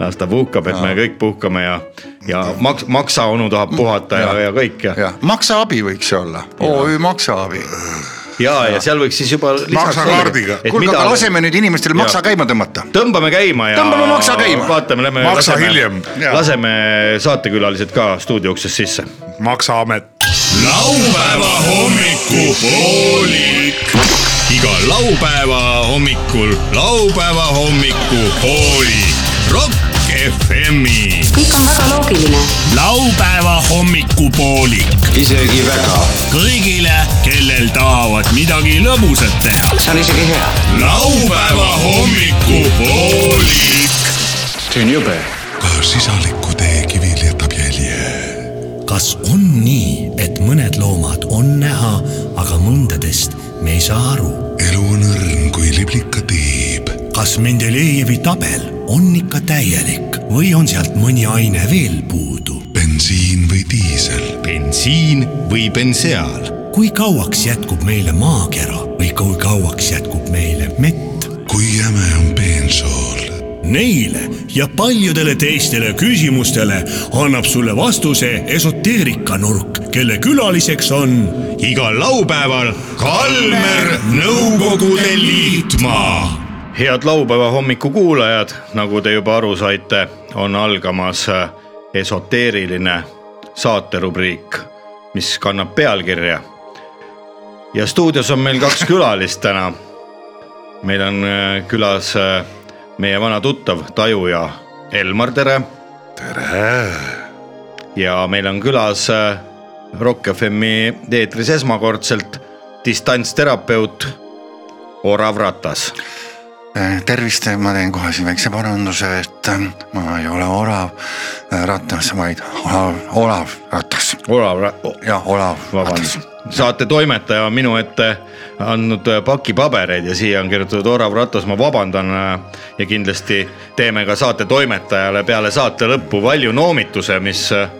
Speaker 1: las ta puhkab , et me kõik puhkame ja , ja maks- , maksa onu tahab puhata ja ,
Speaker 4: Ja.
Speaker 1: ja kõik ja ,
Speaker 4: ja maksaabi võiks see olla , OÜ Maksaabi .
Speaker 1: ja , ja seal võiks siis juba .
Speaker 2: Maksakaardiga. Et
Speaker 4: kuulge , aga laseme nüüd inimestele maksa käima tõmmata .
Speaker 1: tõmbame käima ja .
Speaker 4: Tõmbame maksa käima.
Speaker 1: vaatame , lähme .
Speaker 2: Maksa hiljem.
Speaker 1: laseme saatekülalised ka stuudio uksest sisse .
Speaker 2: maksaamet .
Speaker 5: laupäeva hommikupoolik . iga laupäeva hommikul laupäeva hommikupoolik . Rock FM-i .
Speaker 6: kõik on väga loogiline .
Speaker 5: laupäeva hommikupoolik . isegi väga . kõigile , kellel tahavad midagi lõbusat teha . see on isegi hea . laupäeva hommikupoolik .
Speaker 7: ka sisaliku tee kivil jätab jälje .
Speaker 8: kas on nii , et mõned loomad on näha , aga mõndadest me ei saa aru ?
Speaker 7: elu on õrn kui liblika tiib .
Speaker 8: kas Mendelejevi tabel on ikka täielik või on sealt mõni aine veel puudu ?
Speaker 7: bensiin või diisel ,
Speaker 5: bensiin või benseaal .
Speaker 8: kui kauaks jätkub meile maakera või kui kauaks jätkub meile mett ?
Speaker 7: kui jäme on bensool ,
Speaker 5: Neile ja paljudele teistele küsimustele annab sulle vastuse esoteerikanurk , kelle külaliseks on
Speaker 1: igal laupäeval Kalmer
Speaker 5: Nõukogude Liitmaa .
Speaker 1: head laupäeva hommiku kuulajad , nagu te juba aru saite , on algamas äh, esoteeriline saaterubriik , mis kannab pealkirja . ja stuudios on meil kaks külalist täna . meil on äh, külas äh, meie vana tuttav tajuja Elmar , tere . tere . ja meil on külas äh, Rock FM-i eetris esmakordselt distantsterapeut Orav Ratas Äh,
Speaker 4: tervist , ma teen kohe siin väikse paranduse , et äh, ma ei ole Olav äh, Ratas , vaid Olav , Olav Ratas
Speaker 1: Olav Ra- ,
Speaker 4: ja Olav Ratas
Speaker 1: vabandust , saate toimetaja on minu ette andnud äh, paki pabereid ja siia on kirjutatud Orav Ratas , ma vabandan . ja kindlasti teeme ka saate toimetajale peale saate lõppu valju noomituse , mis äh,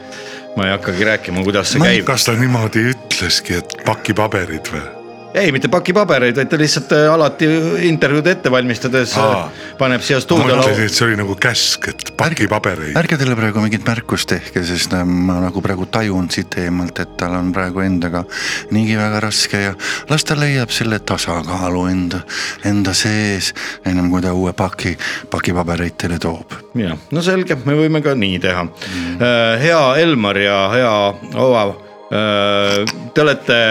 Speaker 1: ma ei hakkagi rääkima , kuidas see
Speaker 2: no
Speaker 1: käib .
Speaker 2: kas ta niimoodi ütleski , et paki paberid või ?
Speaker 1: ei , mitte paki pabereid , vaid ta lihtsalt äh, alati intervjuud ette valmistades
Speaker 2: Aa.
Speaker 1: Aa. paneb siia
Speaker 2: ma
Speaker 1: stuudio
Speaker 2: mõtlesin ,
Speaker 1: laua .
Speaker 2: et see oli nagu käsk , et paki pabereid .
Speaker 4: ärge talle praegu mingit märkust tehke , sest äh, ma nagu praegu tajun siit eemalt , et tal on praegu endaga niigi väga raske ja las ta leiab selle tasakaalu enda , enda sees , ennem kui ta uue paki , pakipabereid teile toob .
Speaker 1: jah , no selge , me võime ka nii teha mm. . hea Elmar ja hea Olav , te olete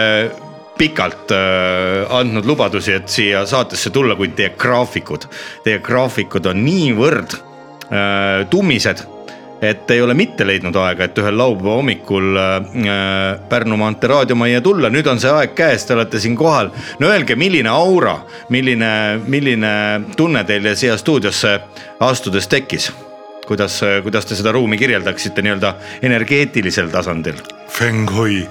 Speaker 1: pikalt äh, andnud lubadusi , et siia saatesse tulla , kuid teie graafikud , teie graafikud on niivõrd äh, tummised , et ei ole mitte leidnud aega , et ühel laupäeva hommikul äh, Pärnu maantee raadiomajja tulla , nüüd on see aeg käes , te olete siin kohal . no öelge , milline aura , milline , milline tunne teil siia stuudiosse astudes tekkis ? kuidas , kuidas te seda ruumi kirjeldaksite nii-öelda energeetilisel tasandil ?
Speaker 2: Feng-Hui ,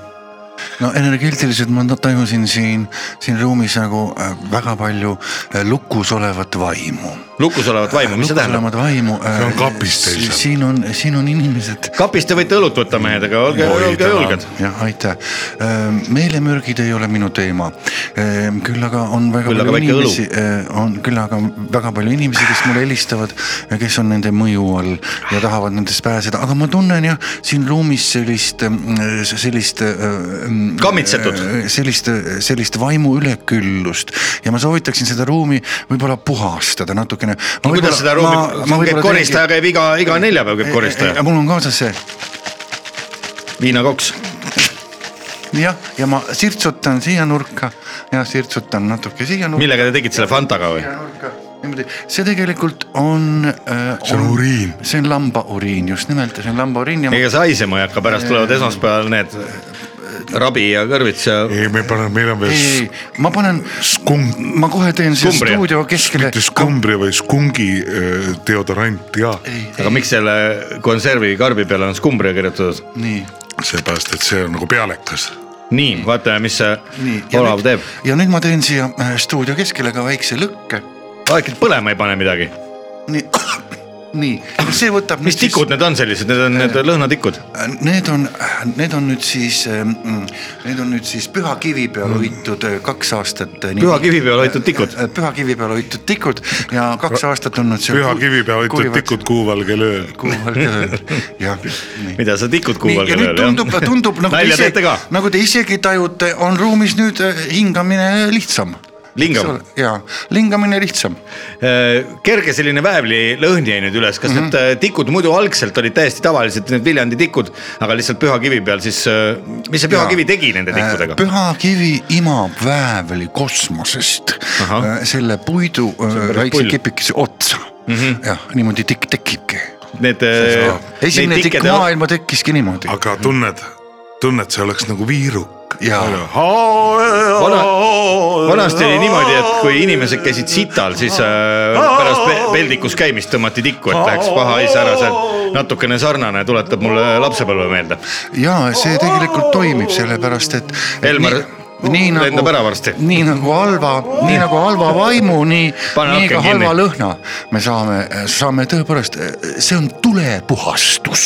Speaker 4: no energeetiliselt ma tajusin siin , siin ruumis nagu äh, väga palju äh, lukus olevat vaimu .
Speaker 1: lukus olevat vaimu , mis see tähendab ?
Speaker 4: olevat vaimu .
Speaker 2: See on kapis teil seal.
Speaker 4: siin on , siin on inimesed
Speaker 1: kapist te võite õlut võtta mehed , aga olge ,
Speaker 2: Oi,
Speaker 1: olge
Speaker 2: tänan.
Speaker 1: julged .
Speaker 4: jah , aitäh . meelemürgid ei ole minu teema . küll aga on väga
Speaker 1: Küll aga väike
Speaker 4: palju
Speaker 1: õlu.
Speaker 4: inimesi , on küll aga väga palju inimesi , kes mulle helistavad ja kes on nende mõju all ja tahavad nendest pääseda , aga ma tunnen jah , siin ruumis sellist , sellist .
Speaker 1: Kammitsetud.
Speaker 4: sellist , sellist vaimu üleküllust ja ma soovitaksin seda ruumi võib-olla puhastada natukene .
Speaker 1: kuidas seda ruumi , käib koristaja , käib iga , iga neljapäev käib koristaja ,
Speaker 4: eh, mul on kaasas see
Speaker 1: viinakoks
Speaker 4: jah , ja ma sirtsutan siia nurka ja sirtsutan natuke siia nurka .
Speaker 1: millega te tegite selle Fantaga või ?
Speaker 4: niimoodi , see tegelikult on äh, .
Speaker 2: See on uriin.
Speaker 4: see on lambauriin , just nimelt , see on lambauriin ja ma...
Speaker 1: ega see haisema ei hakka , pärast tulevad esmaspäeval need rabi ja kõrvits ja
Speaker 2: ei , me paneme , meil on veel
Speaker 4: ei
Speaker 2: s- ,
Speaker 4: ma panen ,
Speaker 2: skum- ,
Speaker 4: ma kohe teen siia
Speaker 1: Skumbria.
Speaker 4: stuudio keskele .
Speaker 2: mitte skumbri või skungi öö, deodorant ja
Speaker 1: aga miks selle konservi karbi peale on skumbria kirjutatud ?
Speaker 4: nii ,
Speaker 2: seepärast , et see on nagu pealekas .
Speaker 1: nii , vaatame , mis see
Speaker 4: nii .
Speaker 1: Olav teeb .
Speaker 4: ja nüüd ma teen siia äh, stuudio keskele ka väikse lõkke .
Speaker 1: äkki põlema ei pane midagi ?
Speaker 4: nii , nii , see võtab .
Speaker 1: mis tikud need on sellised , need on need lõhnatikud ?
Speaker 4: Need on , need on nüüd siis , need on nüüd siis pühakivi peal hoitud eh, kaks aastat .
Speaker 1: Pühakivi peal hoitud tikud?
Speaker 4: pühakivi peal hoitud tikud ja kaks aastat on nüüd .
Speaker 2: püha kivi peal hoitud . tikud kuu valgel ööl .
Speaker 4: kuuval tööl , jah . nii ,
Speaker 1: mida sa tikud kuu
Speaker 4: ja
Speaker 1: peal
Speaker 4: nüüd tundub , tundub nagu te
Speaker 1: nalja teete
Speaker 4: ise
Speaker 1: ka ?,
Speaker 4: nagu te isegi tajute , on ruumis nüüd eh, hingamine lihtsam .
Speaker 1: Lingam. .
Speaker 4: jaa , lingamine lihtsam .
Speaker 1: Äh, kerge selline väävli lõhn jäi nüüd üles , kas mm -hmm.
Speaker 4: Mhm.
Speaker 1: need äh, tikud muidu algselt olid täiesti tavalised , need Viljandi tikud , aga lihtsalt pühakivi peal siis , mis see pühakivi tegi nende tikkudega ?
Speaker 4: pühakivi Äh, imab väävli kosmosest äh,
Speaker 1: Ahah. ,
Speaker 4: selle puidu äh,
Speaker 1: päris
Speaker 4: väikse
Speaker 1: pull. Mhm.
Speaker 4: kipikese otsa mm -hmm. ja niimoodi tikk tekibki .
Speaker 1: Need . äh,
Speaker 4: esimene tikk maailma tekkiski niimoodi .
Speaker 2: aga tunned , tunned , see oleks nagu viiruk .
Speaker 4: Jaa.
Speaker 1: vanasti oli niimoodi , et kui inimesed käisid sital , siis äh, pärast pe- peldikus käimist tõmmati tikku , et läheks paha hais ära , see on natukene sarnane , tuletab mulle lapsepõlve meelde .
Speaker 4: ja see tegelikult toimib , sellepärast et .
Speaker 1: Elmar ,
Speaker 4: nii
Speaker 1: lendab
Speaker 4: nagu
Speaker 1: ära varsti.
Speaker 4: nii nagu halva , nii nagu halva vaimu , nii ,
Speaker 1: Pane
Speaker 4: nii ka
Speaker 1: aken
Speaker 4: halva
Speaker 1: kinni.
Speaker 4: lõhna . me saame , saame tõepoolest , see on tulepuhastus .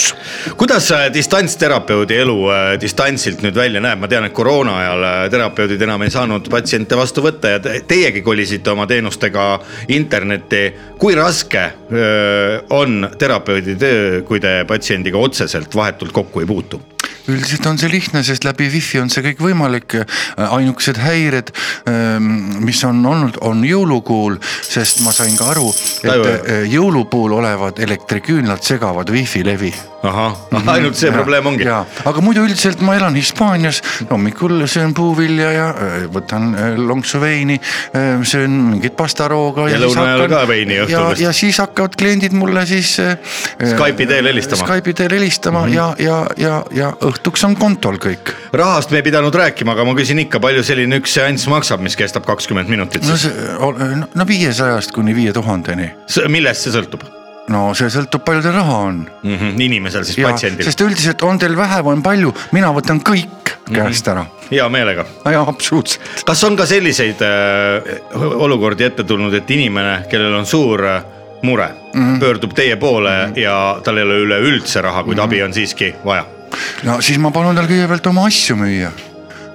Speaker 1: kuidas äh, distantsterapeudi elu äh, distantsilt nüüd välja näeb , ma tean , et koroona ajal äh, terapeudid enam ei saanud patsiente vastu võtta ja te- teiegi kolisite oma teenustega internetti . kui raske öö, on terapeudi töö , kui te patsiendiga otseselt vahetult kokku ei puutu ?
Speaker 4: üldiselt on see lihtne , sest läbi wifi on see kõik võimalik . ainukesed häired , mis on olnud , on jõulukuul , sest ma sain ka aru ,
Speaker 1: Aivar.
Speaker 4: et äh, jõulupuul olevad elektriküünlad segavad wifi levi
Speaker 1: ahah , ainult see probleem ongi .
Speaker 4: jaa , aga muidu üldiselt ma elan Hispaanias , hommikul söön puuvilja ja öö, võtan öö, lonksu veini , söön mingit pastarooga .
Speaker 1: Ja lõuna ajal ka veini õhtul
Speaker 4: ja ,
Speaker 1: vist.
Speaker 4: ja siis hakkavad kliendid mulle siis . Skype'i
Speaker 1: teel helistama. Mhm.
Speaker 4: Skype'i teel helistama mm -hmm. ja , ja , ja , ja õhtuks on kontol kõik .
Speaker 1: rahast me ei pidanud rääkima , aga ma küsin ikka , palju selline üks seanss maksab , mis kestab kakskümmend minutit
Speaker 4: no
Speaker 1: siis
Speaker 4: see , no viiesajast kuni viie tuhandeni ,
Speaker 1: no, ? millest see sõltub
Speaker 4: no see sõltub , palju teil raha on .
Speaker 1: mm ? -hmm. inimesel siis , patsiendil sest... ,
Speaker 4: sest üldiselt on teil vähe või on palju , mina võtan kõik
Speaker 1: Mhm.
Speaker 4: käest ära ,
Speaker 1: hea meelega .
Speaker 4: jaa absoluutselt .
Speaker 1: kas on ka selliseid äh, olukordi ette tulnud , et inimene , kellel on suur äh, mure mm ,
Speaker 4: Mhm.
Speaker 1: -hmm. pöördub teie poole mm -hmm. ja tal ei ole üleüldse raha ,
Speaker 4: Mhm.
Speaker 1: kuid mm -hmm. abi on siiski vaja ?
Speaker 4: no siis ma palun tal kõigepealt oma asju müüa ,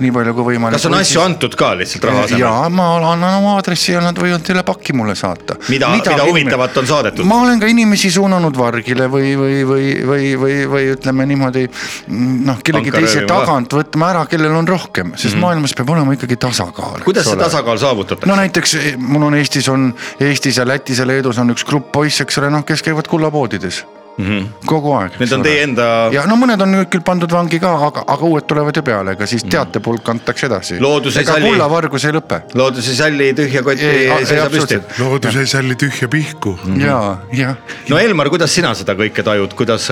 Speaker 4: nii palju kui võimalik .
Speaker 1: kas on asju antud ka lihtsalt raha asemel ?
Speaker 4: ja ma annan oma aadressi ja nad võivad teile paki mulle saata .
Speaker 1: mida, mida , mida huvitavat on saadetud ?
Speaker 4: ma olen ka inimesi suunanud vargile või , või , või , või , või , või ütleme niimoodi mm, noh , kellegi
Speaker 1: Panka
Speaker 4: teise
Speaker 1: röövima ka.
Speaker 4: tagant võtma ära , kellel on rohkem , sest mm -hmm. maailmas peab olema ikkagi tasakaal .
Speaker 1: Mhm. kuidas see tasakaal saavutatakse
Speaker 4: no
Speaker 1: no, ?
Speaker 4: näiteks eh, mul on Eestis on , Eestis ja Lätis ja Leedus on üks grupp poisse , eks ole , noh , kes käivad kullapoodides mm
Speaker 1: Mhm.
Speaker 4: kogu aeg .
Speaker 1: Need on teie enda
Speaker 4: ja no mõned on nüüd küll pandud vangi ka , aga , aga uued tulevad ju peale , ega
Speaker 2: Mm.
Speaker 4: siis teatepulk antakse edasi .
Speaker 1: Loodus ei
Speaker 4: ega
Speaker 1: salli.
Speaker 4: kullavargus ei lõpe .
Speaker 1: looduse salli tühja kotti
Speaker 4: Ei,
Speaker 1: seisab
Speaker 4: ei,
Speaker 1: püsti
Speaker 4: absoluutselt.
Speaker 2: loodus ei salli tühja pihku .
Speaker 4: ja , ja
Speaker 1: no Elmar , kuidas sina seda kõike tajud , kuidas ,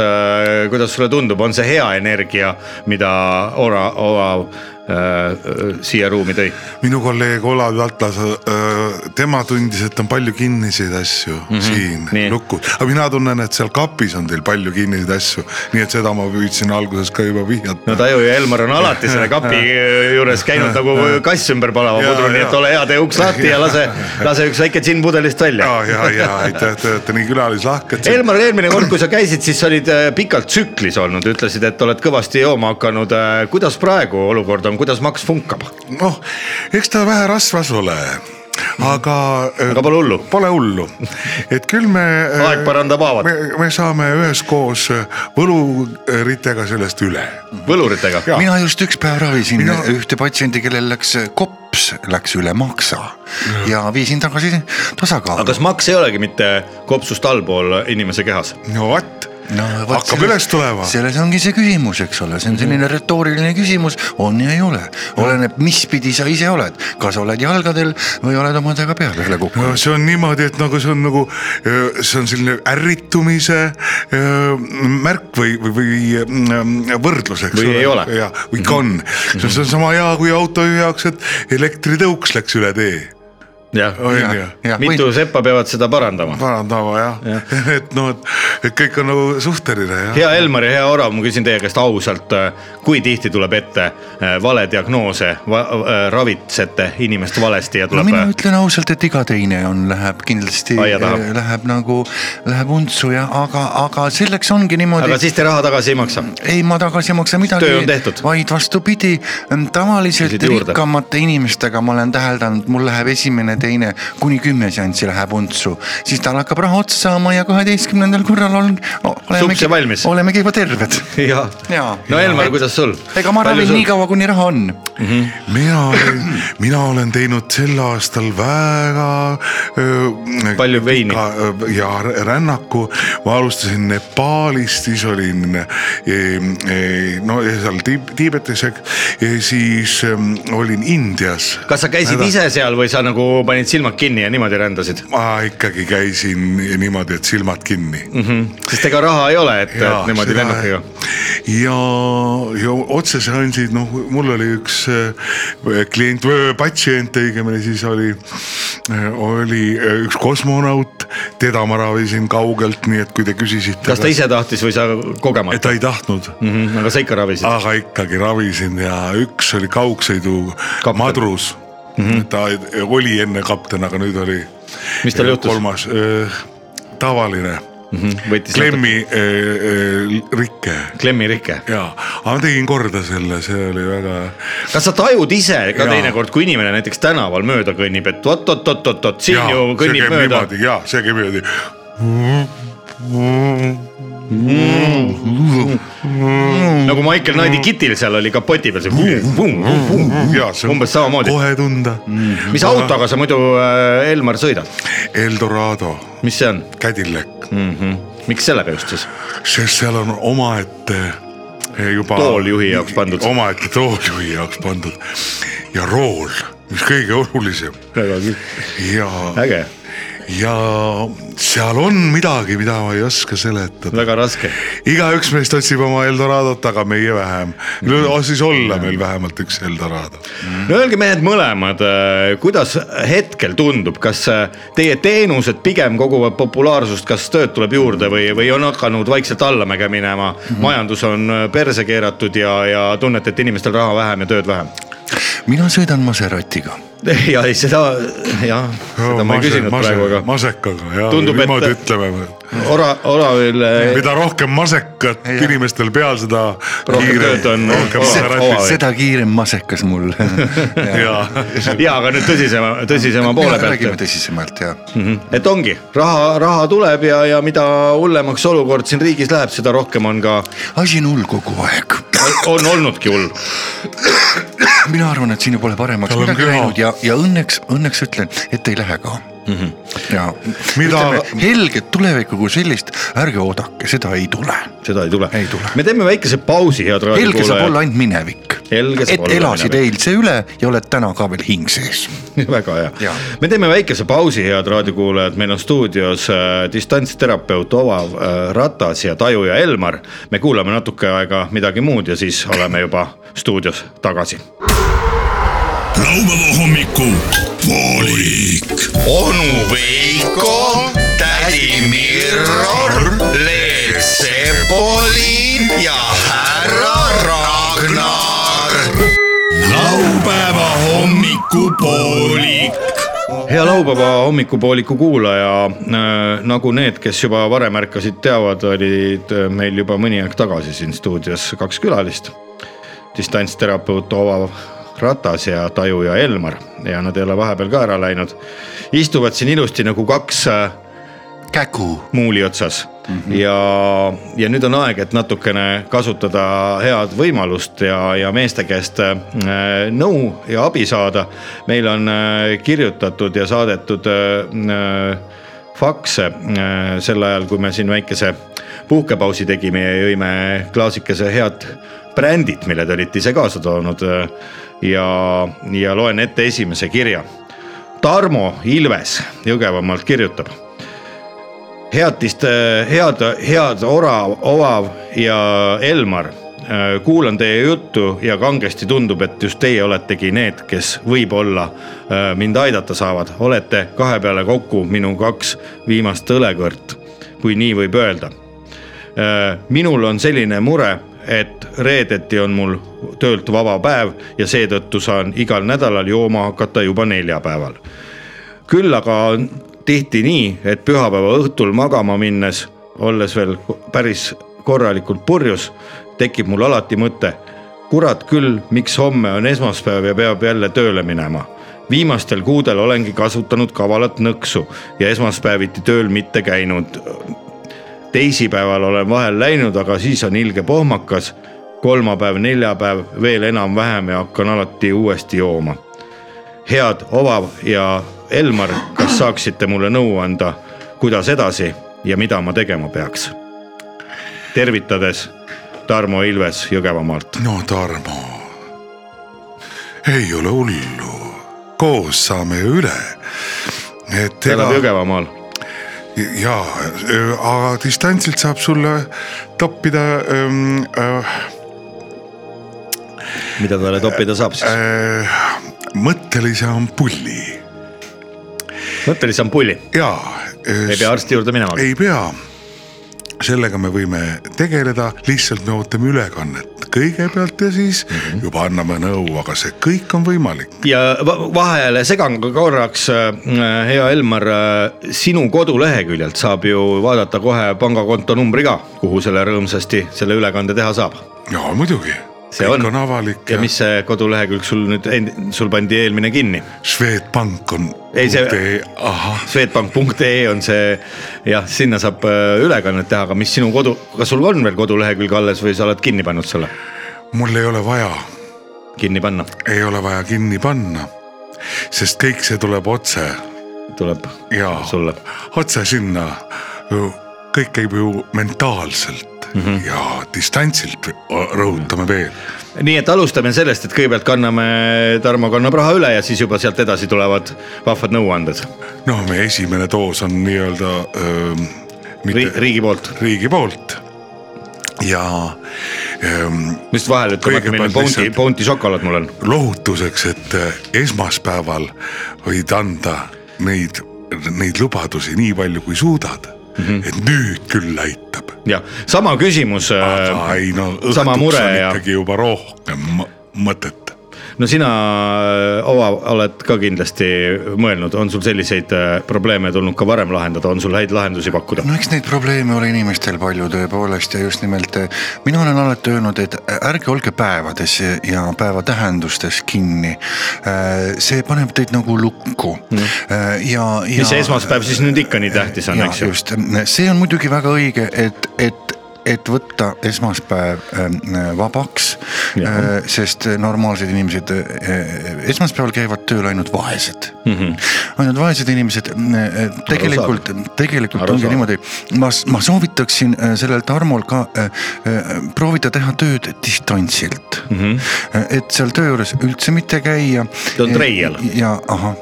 Speaker 1: kuidas sulle tundub , on see hea energia , mida Ora , Ora äh, siia ruumi tõi ?
Speaker 2: minu kolleeg Olav Atlas , tema tundis , et on palju kinniseid asju mm -hmm.
Speaker 1: Mhm. nii.
Speaker 2: siin lukus , aga mina tunnen , et seal kapis on teil palju kinniseid asju , nii et seda ma püüdsin alguses ka juba vihjata
Speaker 1: no taju ja Elmar on alati selle kapi juures käinud nagu kass ümber palava
Speaker 2: Jaa,
Speaker 1: pudru , nii et
Speaker 2: jaa.
Speaker 1: ole hea , tee uks lahti ja lase , lase üks väike džinn pudelist välja .
Speaker 2: ja , ja , ja aitäh , te olete nii külalislahked .
Speaker 1: Elmar , eelmine kord , kui sa käisid , siis sa olid äh, pikalt tsüklis olnud , ütlesid , et oled kõvasti jooma hakanud . kuidas praegu olukord on , kuidas Max funkab ?
Speaker 2: noh , eks ta vähe rasvas ole , aga . äh,
Speaker 1: Aga pole hullu.
Speaker 2: Pole hullu , et küll me .
Speaker 1: Aeg parandab haavad.
Speaker 2: me , me saame üheskoos äh, võluritega sellest üle .
Speaker 1: võluritega ?
Speaker 2: Jaa.
Speaker 4: mina just üks päev ravisin
Speaker 2: Ah. Mina-
Speaker 4: Mina... ühte patsiendi , kellel läks äh, kops , läks üle maksa
Speaker 2: Mm.
Speaker 4: ja viisin tagasi tasakaalu
Speaker 1: aga . kas Max ei olegi mitte kopsust allpool inimese kehas ?
Speaker 2: no vot
Speaker 4: No, vot
Speaker 2: hakkab
Speaker 4: selles-
Speaker 2: üles tulema. Mm.
Speaker 4: selles ongi see küsimus , eks ole , see on selline retooriline küsimus , on ja ei ole , oleneb , mis pidi sa ise oled , kas oled jalgadel või oled omadega peale üle
Speaker 2: no
Speaker 4: kukkunud .
Speaker 2: see on niimoodi , et nagu see on nagu , see on selline ärritumise öö, märk või , või , või mm, võrdlus , eks
Speaker 1: Või ei ole. Mhm.
Speaker 2: jah , või ikka on , see on sama hea kui autojuhi jaoks , et elektritõuks läks üle tee ,
Speaker 1: jah ,
Speaker 2: on ju
Speaker 4: jah.
Speaker 1: mitu või... seppa peavad seda parandama ?
Speaker 2: parandama jah ja. , et noh , et , et kõik on nagu suhteline jah .
Speaker 1: hea Elmar ja hea Orav , ma küsin teie käest ausalt , kui tihti tuleb ette äh, valediagnoose va , äh, ravitsete inimest valesti ja
Speaker 4: no
Speaker 1: tuleb äh,
Speaker 4: mina ütlen ausalt , et iga teine on , läheb kindlasti ,
Speaker 1: Aia taha.
Speaker 4: läheb nagu , läheb untsu ja aga , aga selleks ongi niimoodi
Speaker 1: aga . siis te raha tagasi ei maksa .
Speaker 4: ei , ma tagasi ei maksa
Speaker 1: Töö on tehtud.
Speaker 4: midagi , vaid vastupidi , tavaliselt
Speaker 1: Küsid juurde.
Speaker 4: rikkamate inimestega ma olen täheldanud , mul läheb esimene , teine kuni kümme seanssi läheb untsu , siis tal hakkab raha otsa saama ja kaheteistkümnendal korral on .
Speaker 1: Sups ja valmis.
Speaker 4: olemegi juba terved .
Speaker 1: jah ,
Speaker 4: Jaa.
Speaker 1: no Elmar , kuidas sul ?
Speaker 4: ega ma ravin nii . kaua , kuni raha on .
Speaker 2: mina olen , mina olen teinud sel aastal väga öö,
Speaker 1: Palju veini.
Speaker 2: pika, öö, ja r- rännaku , ma alustasin Nepaalist , siis olin e, e, no ja seal Tiib- Tiibetis , siis em, olin Indias .
Speaker 1: kas sa käisid ? ise seal või sa nagu panid silmad kinni ja niimoodi rändasid ?
Speaker 2: ma ikkagi käisin niimoodi , et silmad kinni mm . -hmm.
Speaker 1: sest ega raha ei ole , et , et niimoodi lennukiga .
Speaker 2: ja , ja otseseansid , noh , mul oli üks äh, klient , patsient õigemini siis oli , oli äh, üks kosmonaut , teda ma ravisin kaugelt , nii et kui te küsisite .
Speaker 1: kas ta ise tahtis või sa kogemata ?
Speaker 2: ta ei tahtnud
Speaker 1: mm . -hmm, aga sa ikka ravisid ah. ?
Speaker 2: aga ikkagi ravisin ja üks oli kaugsõidu
Speaker 1: Kapten. Mhm.
Speaker 2: kapten. madrus mm . -hmm. ta oli enne kapten , aga nüüd oli .
Speaker 1: Mis tal juhtus?
Speaker 2: kolmas , tavaline
Speaker 1: Mhm, võttis
Speaker 2: klemmi äh, öö, öö, rike
Speaker 1: natuke- klemmirike .
Speaker 2: ja , aga ma tegin korda selle , see oli väga .
Speaker 1: kas sa tajud ise ka
Speaker 2: Jaa.
Speaker 1: teinekord , kui inimene näiteks tänaval mööda kõnnib , et oot-oot-oot-oot-oot , siin ju kõnnib mööda .
Speaker 2: ja see käib niimoodi ,
Speaker 1: nagu Michael
Speaker 2: Mm.
Speaker 1: Knighti kitil seal oli kapoti peal see .
Speaker 2: ja see
Speaker 1: Mm, Umbes samamoodi.
Speaker 2: kohe tunda mm. .
Speaker 1: mis autoga sa muidu , Elmar , sõidad ?
Speaker 2: Eldorado ,
Speaker 1: mis see on
Speaker 2: Cadillac ,
Speaker 1: mm ? -hmm. miks sellega just siis ?
Speaker 2: sest seal on omaette eh, juba .
Speaker 1: Tooljuhi jaoks pandud.
Speaker 2: omaette tooljuhi jaoks pandud ja rool , mis kõige olulisem ja ,
Speaker 1: äge ,
Speaker 2: ja seal on midagi , mida ma ei oska seletada .
Speaker 1: väga raske .
Speaker 2: igaüks meist otsib oma Eldoradot , aga meie vähem .
Speaker 1: Mm.
Speaker 2: siis olla meil vähemalt üks Eldorado .
Speaker 1: no öelge mehed mõlemad , kuidas hetkel tundub , kas äh, teie teenused pigem koguvad populaarsust , kas tööd tuleb juurde või , või on hakanud vaikselt allamäge minema mm , -hmm. majandus on äh, perse keeratud ja , ja tunnete , et inimestel raha vähem ja tööd vähem ?
Speaker 4: mina sõidan Maseratiga .
Speaker 1: ja ei , seda jah , seda ma ei küsinud praegu , aga
Speaker 2: masekaga ja
Speaker 1: Tundub, et-
Speaker 2: niimoodi ütleme .
Speaker 1: ora , oravil äh,
Speaker 2: mida rohkem masekat
Speaker 4: Ei, jah.
Speaker 2: inimestel peal , seda
Speaker 1: Rohkem tööd on-
Speaker 2: rohkem
Speaker 1: on-
Speaker 2: maseratit .
Speaker 1: on-
Speaker 4: seda kiirem masekas mul .
Speaker 2: ja
Speaker 1: ja aga nüüd tõsisema , tõsisema poole
Speaker 4: räägime
Speaker 1: pealt ,
Speaker 4: tõsisemalt ja
Speaker 1: et ongi raha , raha tuleb ja , ja mida hullemaks olukord siin riigis läheb , seda rohkem on ka ,
Speaker 4: asi on hull kogu aeg .
Speaker 1: on olnudki hull .
Speaker 4: mina arvan , et siin pole paremaks
Speaker 2: Tal on
Speaker 4: midagi
Speaker 2: köha.
Speaker 4: läinud ja , ja õnneks , õnneks ütlen , et ei lähe ka mm .
Speaker 1: Mhm.
Speaker 4: -hmm. ja
Speaker 2: Mida-
Speaker 4: ütleme , helget tulevikku kui sellist , ärge oodake , seda ei tule .
Speaker 1: seda ei tule
Speaker 4: Ei tule.
Speaker 1: me teeme väikese pausi , head
Speaker 4: helge saab
Speaker 1: raadiokuulajad .
Speaker 4: olla ainult minevik .
Speaker 1: Helge saab
Speaker 4: et
Speaker 1: olla
Speaker 4: elasid
Speaker 1: minevik.
Speaker 4: eilse üle ja oled täna ka veel hing sees .
Speaker 1: väga hea
Speaker 4: Jaa. .
Speaker 1: me teeme väikese pausi , head raadiokuulajad , meil on stuudios äh, distantsterapeut Ovav äh, Ratas ja tajuja Elmar . me kuulame natuke aega midagi muud ja siis oleme juba stuudios tagasi .
Speaker 5: laupäeva hommiku poolik .
Speaker 1: onu Veiko , tädi Mirro , Leet Sepolin ja härra Ragnar .
Speaker 5: laupäeva hommikupoolik .
Speaker 1: hea laupäeva hommikupooliku kuulaja , nagu need , kes juba varem ärkasid , teavad , olid äh, meil juba mõni aeg tagasi siin stuudios kaks külalist . distantsterapeut Ova Ratas ja tajuja Elmar ja nad ei ole vahepeal ka ära läinud . istuvad siin ilusti nagu kaks äh,
Speaker 4: kägu .
Speaker 1: muuli otsas mm -hmm. ja , ja nüüd on aeg , et natukene kasutada head võimalust ja , ja meeste käest äh, nõu ja abi saada . meil on äh, kirjutatud ja saadetud äh, äh, fakse äh, sel ajal , kui me siin väikese puhkepausi tegime ja jõime klaasikese head brändit , mille te olite ise kaasa toonud äh, ja , ja loen ette esimese kirja . Tarmo Ilves Jõgevamaalt kirjutab headist , head , head Orav , Ovav ja Elmar . kuulan teie juttu ja kangesti tundub , et just teie oletegi need , kes võib-olla äh, mind aidata saavad . olete kahe peale kokku minu kaks viimast õlekõrt , kui nii võib öelda . minul on selline mure , et reedeti on mul töölt vaba päev ja seetõttu saan igal nädalal jooma hakata juba neljapäeval küll aga on tihti nii , et pühapäeva õhtul magama minnes , olles veel päris korralikult purjus , tekib mul alati mõte . kurat küll , miks homme on esmaspäev ja peab jälle tööle minema . viimastel kuudel olengi kasutanud kavalat nõksu ja esmaspäeviti tööl mitte käinud . teisipäeval olen vahel läinud , aga siis on ilge pohmakas . kolmapäev , neljapäev veel enam-vähem ja hakkan alati uuesti jooma head Ovav ja Elmar , kas saaksite mulle nõu anda , kuidas edasi ja mida ma tegema peaks ? tervitades Tarmo Ilves Jõgevamaalt .
Speaker 2: no Tarmo , ei ole hullu , koos saame üle . et
Speaker 1: ta elab Jõgevamaal .
Speaker 2: ja , aga distantsilt saab sulle toppida ähm, äh,
Speaker 1: mida talle toppida saab siis ?
Speaker 2: äh, mõttelise ampulli
Speaker 1: mõttelise ampulli .
Speaker 2: ja
Speaker 1: ei pea arsti juurde minema .
Speaker 2: ei pea , sellega me võime tegeleda , lihtsalt me ootame ülekannet kõigepealt ja siis
Speaker 1: Mhm.
Speaker 2: juba anname nõu , aga see kõik on võimalik .
Speaker 1: ja va- vahele segan ka korraks , hea Elmar , sinu koduleheküljelt saab ju vaadata kohe pangakonto numbri ka , kuhu selle rõõmsasti selle ülekande teha saab .
Speaker 2: ja muidugi ,
Speaker 1: See
Speaker 2: kõik
Speaker 1: on.
Speaker 2: on, on avalik
Speaker 1: ja mis see kodulehekülg sul nüüd , sul pandi eelmine kinni .
Speaker 2: Swedbank on .
Speaker 1: Ei, see-
Speaker 2: ahah ,
Speaker 1: Swedbank.ee on see jah , sinna saab äh, ülekannet teha , aga mis sinu kodu , kas sul on veel kodulehekülg alles või sa oled kinni pannud selle ?
Speaker 2: mul ei ole vaja ,
Speaker 1: kinni panna ,
Speaker 2: ei ole vaja kinni panna , sest kõik see tuleb otse
Speaker 1: tuleb
Speaker 2: ja
Speaker 1: sulle .
Speaker 2: otse sinna . kõik käib ju mentaalselt mm
Speaker 1: Mhm.
Speaker 2: -hmm. ja distantsilt , rõhutame veel
Speaker 1: nii et alustame sellest , et kõigepealt kanname , Tarmo kannab raha üle ja siis juba sealt edasi tulevad vahvad nõuanded
Speaker 2: noh , meie esimene doos on nii-öelda ähm,
Speaker 1: Ri,
Speaker 2: mitte
Speaker 1: riigi poolt .
Speaker 2: riigi poolt ja ähm,
Speaker 1: mis vahele ütleb , et
Speaker 2: Kõigepealt
Speaker 1: meil bounty ,
Speaker 2: lihtsalt-
Speaker 1: bounty šokolaad mul on .
Speaker 2: lohutuseks , et äh, esmaspäeval võid anda neid , neid lubadusi nii palju , kui suudad mm .
Speaker 1: Mhm.
Speaker 2: -hmm. et nüüd küll aitab ,
Speaker 1: jah , sama küsimus .
Speaker 2: aga ei no õhtuks
Speaker 1: Ähm, sama
Speaker 2: on
Speaker 1: mure ja ,
Speaker 2: ikkagi juba rohkem mõ- mõtet .
Speaker 1: no sina , Ova , oled ka kindlasti mõelnud , on sul selliseid äh, probleeme tulnud ka varem lahendada , on sul häid lahendusi pakkuda ?
Speaker 4: no eks neid probleeme ole inimestel palju tõepoolest ja just nimelt eh, mina olen alati öelnud , et eh, ärge olge päevades ja päeva tähendustes kinni . see paneb teid nagu lukku Eh, ja , ja .
Speaker 1: Mm. mis see esmaspäev siis nüüd ikka nii tähtis on ,
Speaker 4: ja,
Speaker 1: eks ju ?
Speaker 4: just , see on muidugi väga õige , et , et , et võtta esmaspäev ähm, vabaks , sest normaalsed inimesed , esmaspäeval käivad tööl ainult vaesed mm .
Speaker 1: Mhm.
Speaker 4: -hmm. ainult vaesed inimesed , tegelikult , tegelikult
Speaker 1: Arusaadav.
Speaker 4: ongi niimoodi , ma , ma soovitaksin äh, sellel Tarmol ka äh, äh, proovida teha tööd distantsilt mm .
Speaker 1: Mhm.
Speaker 4: -hmm. et seal töö juures üldse mitte käia . Äh,
Speaker 1: Ta on treial.
Speaker 4: ja ahah ,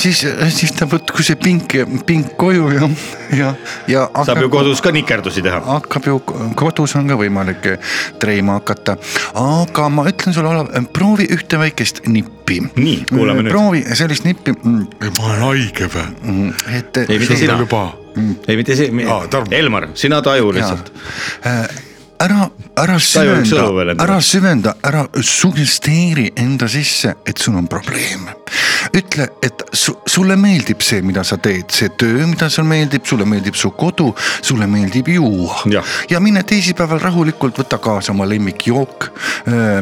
Speaker 4: siis , siis ta võtku see pink , pink koju ja , ja , ja .
Speaker 1: saab ju kodus ka nikerdusi teha .
Speaker 4: hakkab ju , kodus on ka võimalik eh, treima hakata , aga ma ütlen sulle , Olav , proovi ühte väikest nippi .
Speaker 1: Nii, kuulame nüüd.
Speaker 4: proovi sellist nippi ,
Speaker 2: ma olen haige või ?
Speaker 4: et .
Speaker 1: ei , Mhm. mitte sina ,
Speaker 2: juba ,
Speaker 1: ei mitte sina
Speaker 2: Aa, Tarmo. ,
Speaker 1: Elmar , sina taju lihtsalt .
Speaker 4: lihtsalt . Äh, ära , ära
Speaker 1: ei olnud sõnu veel
Speaker 4: süvenda ,
Speaker 1: endale.
Speaker 4: ära süvenda , ära sugesteeri enda sisse , et sul on probleem . ütle , et su, sulle meeldib see , mida sa teed , see töö , mida sulle meeldib , sulle meeldib su kodu , sulle meeldib juua
Speaker 1: Jah.
Speaker 4: ja mine teisipäeval rahulikult , võta kaasa oma lemmikjook ,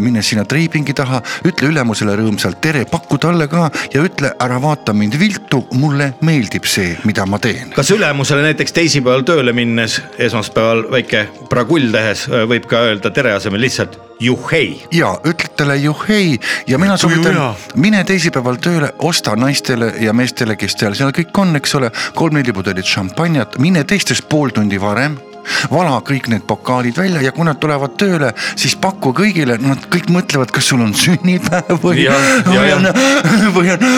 Speaker 4: mine sinna treipingi taha , ütle ülemusele rõõmsalt tere , paku talle ka ja ütle , ära vaata mind viltu , mulle meeldib see , mida ma teen .
Speaker 1: kas ülemusele näiteks teisipäeval tööle minnes , esmaspäeval väike pragull tehes öö, võib ka öelda tere asemel lihtsalt juhhei ?
Speaker 4: ja ütled talle juhhei ja mina
Speaker 2: Kui hea.
Speaker 4: soovitan , mine teisipäeval tööle , osta naistele ja meestele , kes seal , seal kõik on , eks ole , kolm-neli pudelit šampanjat , mine teistest pool tundi varem vala kõik need pokaalid välja ja kui nad tulevad tööle , siis paku kõigile , nad kõik mõtlevad , kas sul on sünnipäev või
Speaker 1: Ja, , ja,
Speaker 4: või
Speaker 1: ja.
Speaker 4: on , või on ,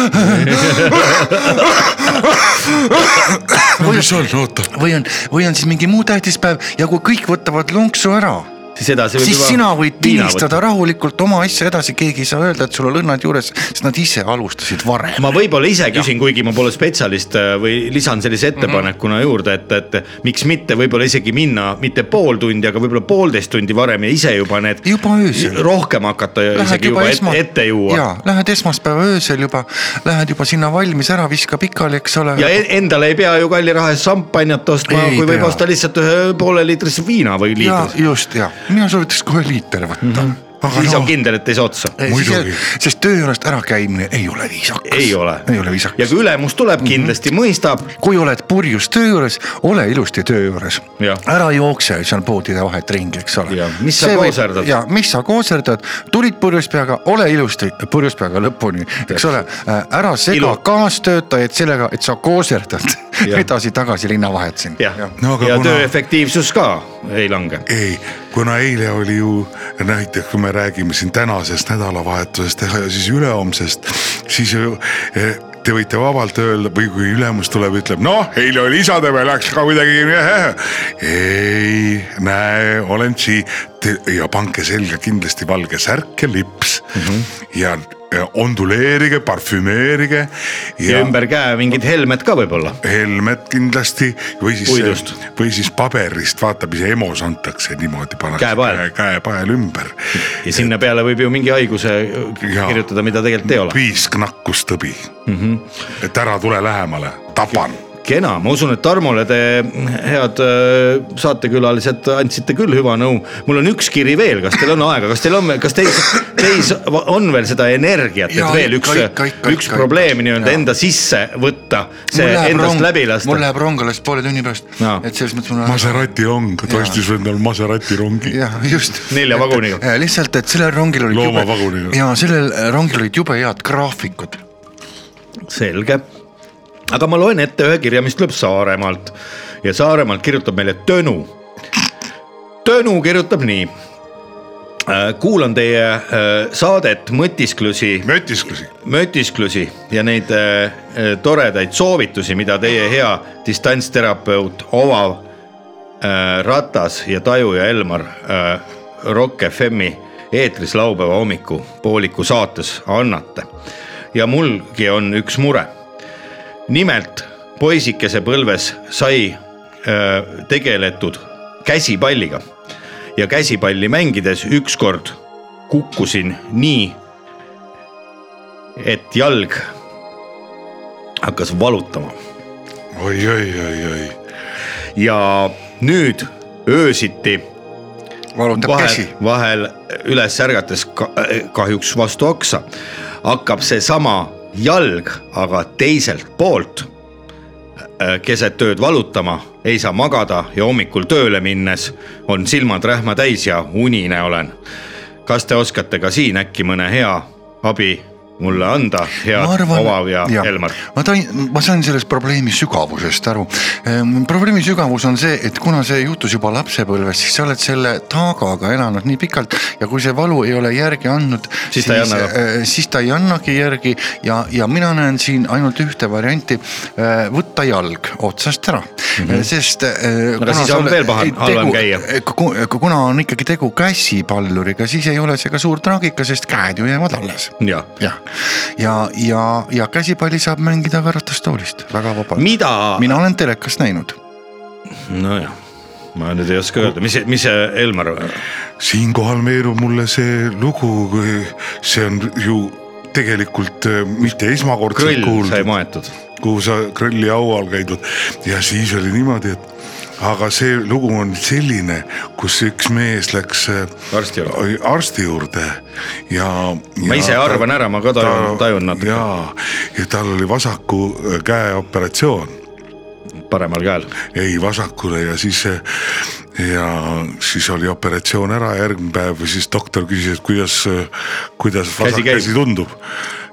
Speaker 2: no mis on , oota ,
Speaker 4: või on , või on siis mingi muu tähtis päev ja kui kõik võtavad lonksu ära
Speaker 1: siis edasi võib
Speaker 4: siis
Speaker 1: juba
Speaker 4: sina võid
Speaker 1: viina
Speaker 4: tinistada rahulikult oma asja edasi , keegi ei saa öelda , et sul on õnnad juures , sest nad ise alustasid varem .
Speaker 1: ma võib-olla ise küsin , kuigi ma pole spetsialist äh, või lisan sellise ettepanekuna juurde , et , et miks mitte võib-olla isegi minna mitte pool tundi , aga võib-olla poolteist tundi varem ja ise juba need .
Speaker 4: Juba öösel.
Speaker 1: rohkem hakata ja isegi juba, juba esma... ette juua
Speaker 4: ja
Speaker 1: ja,
Speaker 4: lähed esmaspäeva öösel juba , lähed juba sinna valmis ära , viska pikali , eks ole .
Speaker 1: ja e- endale ei pea ju kalli raha eest šampanjat ostma ,
Speaker 4: Ei
Speaker 1: kui võib
Speaker 4: pea.
Speaker 1: osta lihtsalt ühe pooleliitrise viina või
Speaker 4: ja
Speaker 1: liitrise .
Speaker 4: just ja , mina soovitaks kohe liiter võtta
Speaker 1: Mhm.
Speaker 4: mm . -hmm.
Speaker 1: siis on kindel , et ei saa otsa .
Speaker 2: Muidugi.
Speaker 4: sest töö juurest ära käimine ei ole viisakas .
Speaker 1: ei ole .
Speaker 4: ei ole viisakas . Mhm.
Speaker 1: ja kui ülemus tuleb , kindlasti mõistab .
Speaker 4: kui oled purjus töö juures , ole ilusti töö juures
Speaker 1: Jah. .
Speaker 4: ära jookse seal poodide vahet ringi , eks ole
Speaker 1: Jah, . mis sa kooserdad?
Speaker 4: ja mis sa kooserdad , tulid purjus peaga , ole ilusti purjus peaga lõpuni , eks ole . ära sega
Speaker 1: Ilu-
Speaker 4: Ilu. kaastöötajaid sellega , et sa kooserdad edasi-tagasi linna vahet siin .
Speaker 1: jah ,
Speaker 2: No aga
Speaker 1: ja
Speaker 2: kuna-
Speaker 1: töö efektiivsus ka ei lange .
Speaker 2: ei , kuna eile oli ju näiteks , kui me räägime siin tänasest nädalavahetusest ja siis ülehomsest , siis ju eh, te võite vabalt öelda või kui ülemus tuleb , ütleb noh , eile oli isadepäev , läks ka kuidagi . ei , näe , olen siin Te- ja pange selga kindlasti valge särk ja lips mm -hmm. ja onduleerige , parfümeerige
Speaker 1: ja
Speaker 2: ja
Speaker 1: ümber käe mingid helmed ka võib-olla .
Speaker 2: helmed kindlasti või siis
Speaker 1: Puidust. ,
Speaker 2: või siis paberist , vaata , mis EMO-s antakse niimoodi , pannakse
Speaker 1: Käepael.
Speaker 2: käepael ümber .
Speaker 1: ja sinna peale võib ju mingi haiguse
Speaker 2: Jaa.
Speaker 1: kirjutada , mida tegelikult ei ole . Mhm.
Speaker 2: piisk nakkus tõbi mm . -hmm. et ära tule lähemale , tapan .
Speaker 1: kena , ma usun , et Tarmole te head äh, saatekülalised andsite küll hüva nõu . mul on üks kiri veel , kas teil on aega , kas teil on , kas teis , teis va- on veel seda energiat , et
Speaker 4: Jaa,
Speaker 1: veel üks
Speaker 4: ikka, , ikka, ikka,
Speaker 1: üks
Speaker 4: ikka,
Speaker 1: probleem
Speaker 4: ikka.
Speaker 1: nii-öelda
Speaker 4: Jaa.
Speaker 1: enda sisse võtta , see endast läbi
Speaker 4: mul
Speaker 1: lasta .
Speaker 4: läheb rong alles poole tunni pärast
Speaker 1: Jaa.
Speaker 4: no. , et selles mõttes mul on .
Speaker 2: Maserati rong , ta ostis endale Maserati rongi .
Speaker 4: jah , just .
Speaker 1: Nelja vaguniga.
Speaker 4: lihtsalt , et sellel rongil olid .
Speaker 2: Loomavaguniga.
Speaker 4: ja sellel rongil olid jube head graafikud .
Speaker 1: selge . aga ma loen ette ühe kirja , mis tuleb Saaremaalt ja Saaremaalt kirjutab meile Tõnu . Tõnu kirjutab nii . kuulan teie äh, saadet Mõtisklusi
Speaker 2: mötisklusi .
Speaker 1: mötisklusi ja neid äh, äh, toredaid soovitusi , mida teie hea distantsterapeut Ova äh, Ratas ja Taju ja Elmar äh, Rock FM-i eetris laupäeva hommiku pooliku saates annate . ja mulgi on üks mure . nimelt poisikese põlves sai äh, tegeletud käsipalliga ja käsipalli mängides ükskord kukkusin nii et jalg hakkas valutama
Speaker 2: oi , oi , oi , oi .
Speaker 1: ja nüüd öösiti
Speaker 4: valutab
Speaker 1: vahel
Speaker 4: käsi .,
Speaker 1: vahel üles ärgates ka, kahjuks vastu oksa hakkab seesama jalg aga teiselt poolt äh, keset ööd valutama , ei saa magada ja hommikul tööle minnes on silmad rähma täis ja unine olen . kas te oskate ka siin äkki mõne hea abi mulle anda , head Olav ja, ja Elmar ?
Speaker 4: ma tain- , ma sain sellest probleemi sügavusest aru . probleemi sügavus on see , et kuna see juhtus juba lapsepõlves , siis sa oled selle taagaga elanud nii pikalt ja kui see valu ei ole järgi andnud ,
Speaker 1: Siis ta ei anna ka.
Speaker 4: äh, siis ta ei annagi järgi ja , ja mina näen siin ainult ühte varianti , võtta jalg otsast ära mm , -hmm. sest .
Speaker 1: Mhm. aga siis on veel paha- halvem käia.
Speaker 4: eh, kuna on ikkagi tegu käsipalluriga , siis ei ole see ka suur traagika , sest käed ju jäävad alles
Speaker 1: jah
Speaker 4: jah , ja , ja , ja käsipalli saab mängida ka ratastoolist väga vabalt .
Speaker 1: mida
Speaker 4: mina olen telekast näinud .
Speaker 1: nojah , ma nüüd ei oska öelda , mis , mis see Elmar ,
Speaker 2: siinkohal meenub mulle see lugu , see on ju tegelikult eh, mitte esmakordselt
Speaker 1: grill sai
Speaker 2: kuuldud ,
Speaker 1: maetud .
Speaker 2: kuhu sa grilli au all käidud ja siis oli niimoodi , et aga see lugu on selline , kus üks mees läks eh,
Speaker 1: Arsti juurde.
Speaker 2: arsti juurde ja .
Speaker 1: ma ise arvan ära , ma ka tajun , tajun natuke
Speaker 2: jaa , ja tal oli vasaku eh, käe operatsioon
Speaker 1: paremal käel .
Speaker 2: jäi vasakule ja siis äh, ja siis oli operatsioon ära , järgmine päev siis doktor küsis , et kuidas , kuidas vasak
Speaker 1: käib.
Speaker 2: käsi tundub .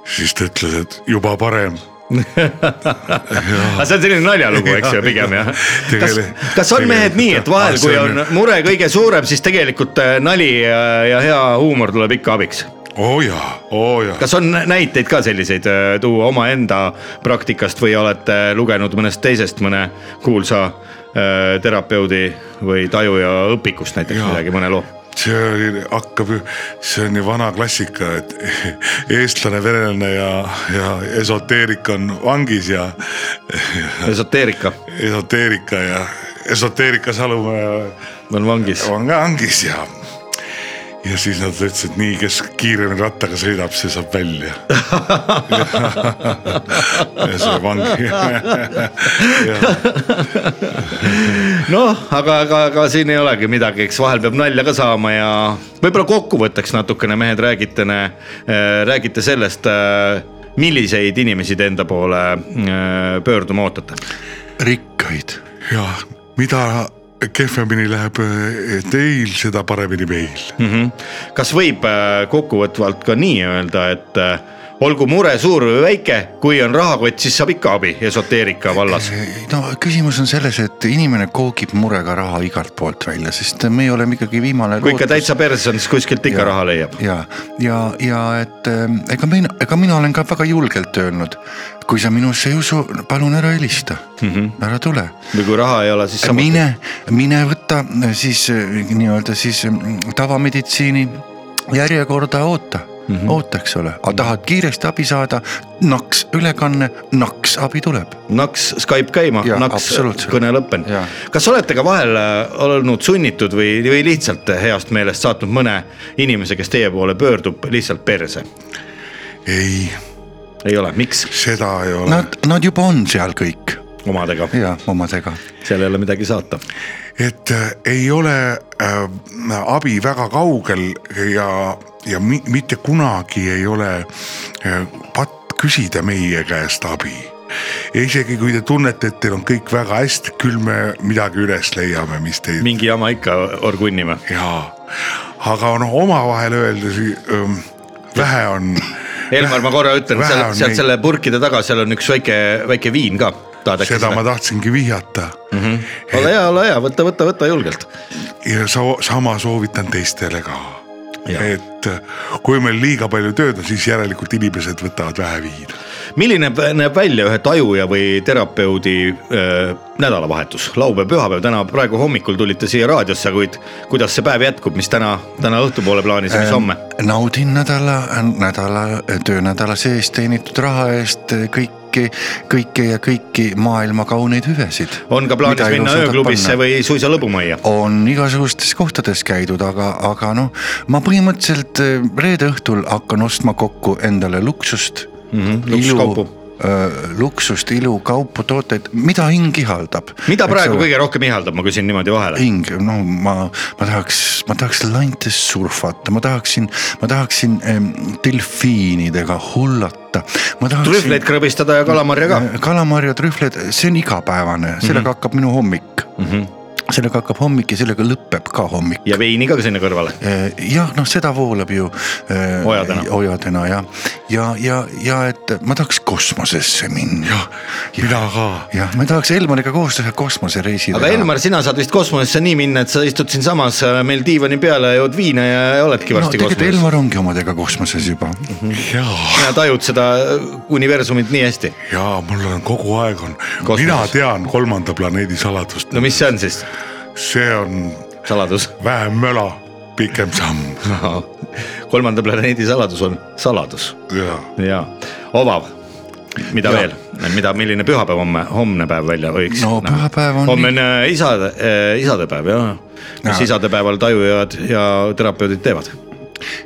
Speaker 2: siis ta ütles , et juba parem .
Speaker 1: aga see on selline naljalugu , eks ju , pigem jah . kas
Speaker 2: Tegele- ,
Speaker 1: kas on mehed
Speaker 2: tegelikult,
Speaker 1: nii , et
Speaker 2: jah. Ah,
Speaker 1: vahel , kui
Speaker 2: see
Speaker 1: on
Speaker 2: on-
Speaker 1: mure kõige suurem , siis tegelikult äh, nali ja, ja hea huumor tuleb ikka abiks ?
Speaker 2: oo Oh jaa , oo jaa .
Speaker 1: kas on näiteid ka selliseid äh, tuua omaenda praktikast või olete lugenud mõnest teisest mõne kuulsa äh, terapeudi või tajuja õpikust näiteks
Speaker 2: Jaa.
Speaker 1: midagi , mõne loo ?
Speaker 2: see oli , hakkab ju , see on ju vana klassika , et eestlane , venelane ja , ja esoteerik on vangis ja
Speaker 1: esoteerika
Speaker 2: esoteerika ja esoteerika Salumäe
Speaker 1: on vangis .
Speaker 2: on ka hangis ja , ja siis nad ütlesid nii , kes kiiremini rattaga sõidab , see saab välja . ja see vangi .
Speaker 1: noh , aga , aga , aga siin ei olegi midagi , eks vahel peab nalja ka saama ja võib-olla kokkuvõtteks natukene mehed räägite , räägite sellest , milliseid inimesi te enda poole äh, pöörduma ootate .
Speaker 4: rikkaid .
Speaker 2: ja mida kehvemini läheb eh, teil , seda paremini meil .
Speaker 1: kas võib äh, kokkuvõtvalt ka nii öelda , et äh, olgu mure suur või väike , kui on rahakott , siis saab ikka abi esoteerika vallas .
Speaker 4: no küsimus on selles , et inimene koogib murega raha igalt poolt välja , sest me oleme ikkagi viimane .
Speaker 1: kui ikka täitsa perses on , siis kuskilt ikka raha leiab .
Speaker 4: ja , ja , ja et ähm, ega mina , ega mina olen ka väga julgelt öelnud , kui sa minusse ei usu , palun ära helista mm , -hmm. ära tule
Speaker 1: või kui raha ei ole , siis saab .
Speaker 4: mine , mine võta äh, siis äh, nii-öelda siis mm, tavameditsiini järjekorda oota mm . mm
Speaker 1: Mhm.
Speaker 4: -hmm. oota , eks ole , aga tahad kiiresti abi saada , naks ülekanne , naks abi tuleb .
Speaker 1: naks Skype käima
Speaker 4: Jaa, ,
Speaker 1: naks
Speaker 4: absoluutselt.
Speaker 1: kõne lõppenud
Speaker 4: Jaa. .
Speaker 1: kas olete ka vahel äh, olnud sunnitud või , või lihtsalt heast meelest saatnud mõne inimese , kes teie poole pöördub , lihtsalt perse ?
Speaker 2: ei ,
Speaker 1: ei ole , miks
Speaker 2: seda ei ole no. .
Speaker 4: Nad , nad juba on seal kõik
Speaker 1: omadega ,
Speaker 4: ja omadega .
Speaker 1: seal ei ole midagi saata .
Speaker 2: et äh, ei ole äh, abi väga kaugel ja , ja mi, mitte kunagi ei ole äh, patt küsida meie käest abi . ja isegi kui te tunnete , et teil on kõik väga hästi , küll me midagi üles leiame , mis teid
Speaker 1: mingi jama ikka orgunnime .
Speaker 2: jaa , aga noh , omavahel öeldes öö, vähe on .
Speaker 1: Elmar , ma korra ütlen , seal , seal selle purkide taga , seal on üks väike , väike viin ka . tahad äkki
Speaker 2: seda ma
Speaker 1: seda ?
Speaker 2: tahtsingi vihjata mm
Speaker 1: Mhm.
Speaker 2: -hmm.
Speaker 1: ole hea , ole hea , võta , võta , võta julgelt .
Speaker 2: ja so, sama soovitan teistele ka . et äh, kui meil liiga palju tööd on , siis järelikult inimesed võtavad vähe viina .
Speaker 1: milline vä- näeb välja ühe tajuja või terapeudi öö, nädalavahetus , laupäev , pühapäev , täna praegu hommikul tulite siia raadiosse , kuid kuidas see päev jätkub , mis täna , täna õhtupoole plaanis ja mis homme ?
Speaker 4: naudin nädala , nädala , töönädala sees teenitud raha eest äh, kõiki , kõiki ja kõiki maailma kauneid hüvesid .
Speaker 1: on ka plaanis minna ööklubisse ? või suisa lõbumajja ?
Speaker 4: on igasugustes kohtades käidud , aga , aga noh , ma põhimõtteliselt eh, reede õhtul hakkan ostma kokku endale luksust mm . -hmm,
Speaker 1: Mhm, luksuskaupu. .
Speaker 4: luksust , ilu , kaupu , tooteid , mida hing ihaldab .
Speaker 1: mida praegu ? kõige rohkem ihaldab , ma küsin niimoodi vahele .
Speaker 4: hing , no ma , ma tahaks , ma tahaks lantes surfata , ma tahaksin , ma tahaksin em, delfiinidega hullata , ma tahaksin
Speaker 1: trühvleid krõbistada ja kalamarja ka . Mhm.
Speaker 4: kalamarja , trühvleid , see on igapäevane , sellega mm -hmm. hakkab minu hommik mm . -hmm. sellega hakkab hommik ja sellega lõpeb ka hommik .
Speaker 1: ja veini ka sinna kõrvale .
Speaker 4: jah , noh , seda voolab ju .
Speaker 1: Ojadena.
Speaker 4: ojadena jah , ja , ja , ja et ma tahaks kosmosesse minna .
Speaker 2: mina ka .
Speaker 4: jah , ma tahaks Elmariga koos teha kosmosereisi .
Speaker 1: aga Elmar , sina saad vist kosmosesse nii minna , et sa istud siinsamas äh, meil diivani peal ja jood viina ja oledki
Speaker 4: no
Speaker 1: varsti no,
Speaker 4: tegelikult
Speaker 1: kosmoses .
Speaker 4: Elmar ongi omadega kosmoses juba mm . -hmm.
Speaker 1: sina tajud seda äh, universumit nii hästi .
Speaker 2: jaa , mul on kogu aeg on ,
Speaker 1: Kosmoses.
Speaker 2: mina tean kolmanda planeedi saladust
Speaker 1: no , mis see on siis ,
Speaker 2: see on
Speaker 1: saladus ?
Speaker 2: vähem möla , pikem samm
Speaker 1: Ahah. kolmanda planeedi saladus on saladus
Speaker 2: ja
Speaker 1: ja ovav . mida ja. veel , mida , milline pühapäev homme , homne päev välja võiks
Speaker 4: No pühapäev on
Speaker 1: homme on äh, isade , isadepäev jah , mis
Speaker 4: Jaa.
Speaker 1: ja. isadepäeval tajujad ja terapeudid teevad .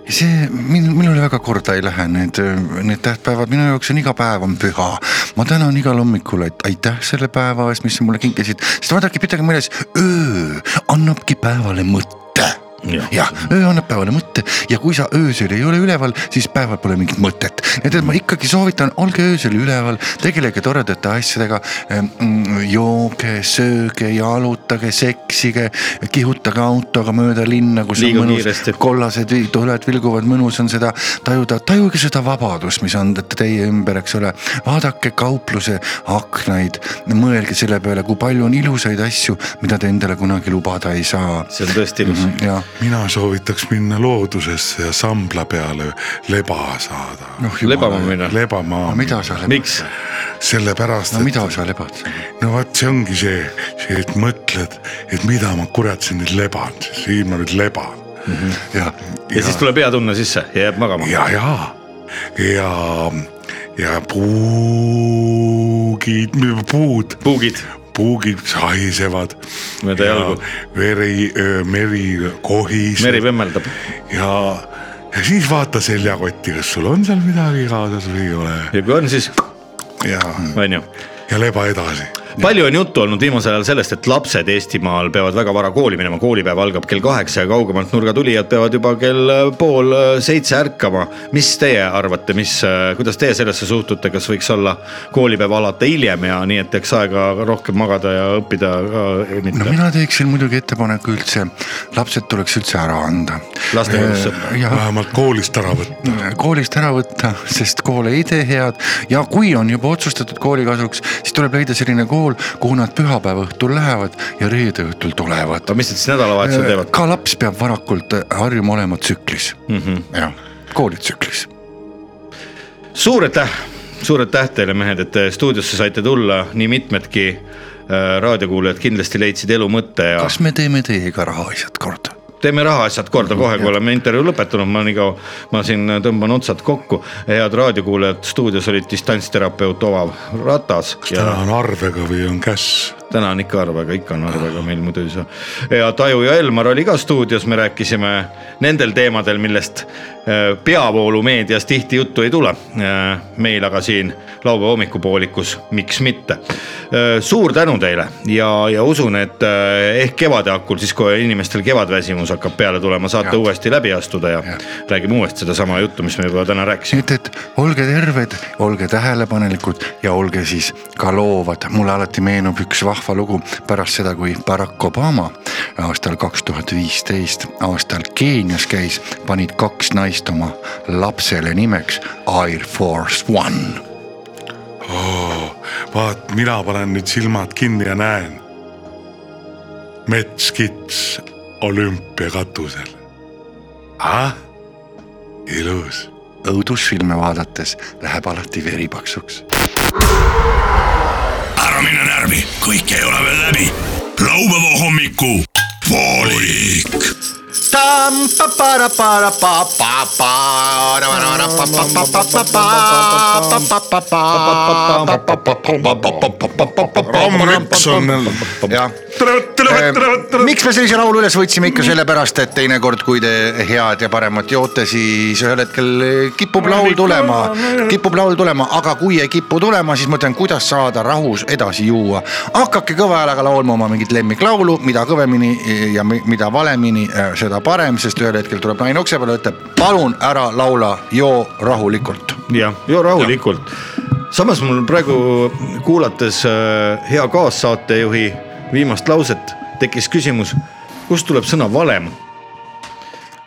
Speaker 4: see min, minule väga korda ei lähe , need , need tähtpäevad minu jaoks on iga päev on püha . ma tänan igal hommikul , et aitäh selle päeva eest , mis sa mulle kinkisid , sest vaadake , pidage meeles , öö annabki päevale mõtte
Speaker 1: Jah.
Speaker 4: jah , öö annab päevale mõtte ja kui sa öösel ei ole üleval , siis päeval pole mingit mõtet . nii et et ma ikkagi soovitan , olge öösel üleval , tegelege toredate asjadega . jooge , sööge , jalutage , seksige , kihutage autoga mööda linna , kus
Speaker 1: Liiga
Speaker 4: on
Speaker 1: kiiresti.
Speaker 4: mõnus , kollased vi- tuled vilguvad , mõnus on seda tajuda , tajuge seda vabadust , mis on teie ümber , eks ole . vaadake kaupluse aknaid , mõelge selle peale , kui palju on ilusaid asju , mida te endale kunagi lubada ei saa .
Speaker 1: see on
Speaker 4: Mhm.
Speaker 1: tõesti ilus mm . -hmm.
Speaker 4: jah
Speaker 2: mina soovitaks minna loodusesse ja sambla peale leba saada no. .
Speaker 4: noh jumal
Speaker 1: lebama minna ,
Speaker 2: lebamaami
Speaker 4: no mida sa lebad ?
Speaker 1: miks ?
Speaker 2: sellepärast
Speaker 4: no
Speaker 2: et
Speaker 4: mida sa lebad ?
Speaker 2: no vot , see ongi see , see , et mõtled , et mida ma kurat siin nüüd leban , siin ma nüüd leban mm . -hmm. ja,
Speaker 1: Mhm. ja siis tuleb hea tunne sisse ja jääb magama .
Speaker 2: ja , ja , ja , ja puugid , puud ,
Speaker 1: puugid
Speaker 2: puugid sahisevad .
Speaker 1: Mööda jalgu. .
Speaker 2: veri , meri kohiseb .
Speaker 1: meri vemmeldab ,
Speaker 2: ja , ja siis vaata seljakotti , kas sul on seal midagi kaasas või ei ole
Speaker 1: ja kui on , siis
Speaker 2: ja ,
Speaker 1: on ju .
Speaker 2: ja leba edasi .
Speaker 1: palju on juttu olnud viimasel ajal sellest , et lapsed Eestimaal peavad väga vara kooli minema , koolipäev algab kell kaheksa ja kaugemalt nurga tulijad peavad juba kell äh, pool seitse ärkama . mis teie arvate , mis , kuidas teie sellesse suhtute , kas võiks olla koolipäev alata hiljem ja nii , et jääks aega rohkem magada ja õppida ka äh,
Speaker 4: no
Speaker 1: mitte ?
Speaker 4: mina teeksin muidugi ettepaneku üldse , lapsed tuleks üldse ära anda .
Speaker 1: Lastekodusse.
Speaker 4: jah ,
Speaker 2: vähemalt koolist ära võtta .
Speaker 4: koolist ära võtta , sest kool ei tee head ja kui on juba otsustatud kooli kasuks , siis tuleb leida selline kool , kuhu nad pühapäeva õhtul lähevad ja reede õhtul tulevad .
Speaker 1: aga mis nad siis nädalavahetusel teevad ?
Speaker 4: ka laps peab varakult äh, harjuma olema tsüklis mm -hmm. , jah , koolitsüklis .
Speaker 1: suur aitäh , suur aitäh teile , mehed , et te stuudiosse saite tulla , nii mitmedki äh, raadiokuulajad kindlasti leidsid elu mõtte ja
Speaker 4: kas me teeme teiega rahaasjad korda ?
Speaker 1: teeme rahaasjad korda kohe , kui oleme intervjuu lõpetanud , ma nii kaua , ma siin tõmban otsad kokku . head raadiokuulajad , stuudios olid distantsterapeut Olav Ratas
Speaker 2: kas täna on arvega või on käss ?
Speaker 1: täna on ikka arvega , ikka on arvega , meil muidu ei saa . ja Taju ja Elmar oli ka stuudios , me rääkisime nendel teemadel , millest äh, peavoolumeedias tihti juttu ei tule . meil aga siin laupäeva hommikupoolikus , miks mitte . suur tänu teile ja , ja usun , et äh, ehk kevade hakul , siis kui inimestel kevadväsimus hakkab peale tulema , saate uuesti läbi astuda ja, ja. räägime uuesti sedasama juttu , mis me juba täna rääkisime .
Speaker 4: nii et , et olge terved , olge tähelepanelikud ja olge siis ka loovad . mulle alati meenub üks vahva lugu pärast seda , kui Barack Obama aastal kaks tuhat viisteist aastal Keenias käis , panid kaks naist oma lapsele nimeks Air Force One .
Speaker 2: vaat mina panen nüüd silmad kinni ja näen . metskits olümpiakatusel . ah , ilus .
Speaker 4: õudusfilme vaadates läheb alati veri paksuks .
Speaker 5: ära mine närvi , kõik ei ole veel läbi . laupäeva hommiku poolik .
Speaker 2: rammrips on jälle .
Speaker 4: jah . Ehm, miks me sellise laulu üles võtsime ikka sellepärast , et teinekord , kui te head ja paremat joote , siis ühel hetkel kipub laul tulema , kipub laul tulema , aga kui ei kipu tulema , siis mõtlen , kuidas saada rahus edasi juua . hakake kõva häälega laulma oma mingit lemmiklaulu , mida kõvemini ja mi- mida valemini , seda parem , sest ühel hetkel tuleb naine ukse peale , ütleb palun ära laula , joo rahulikult .
Speaker 1: jah , joo rahulikult . samas mul praegu kuulates äh, hea kaassaatejuhi viimast lauset tekkis küsimus , kust tuleb sõna valem ?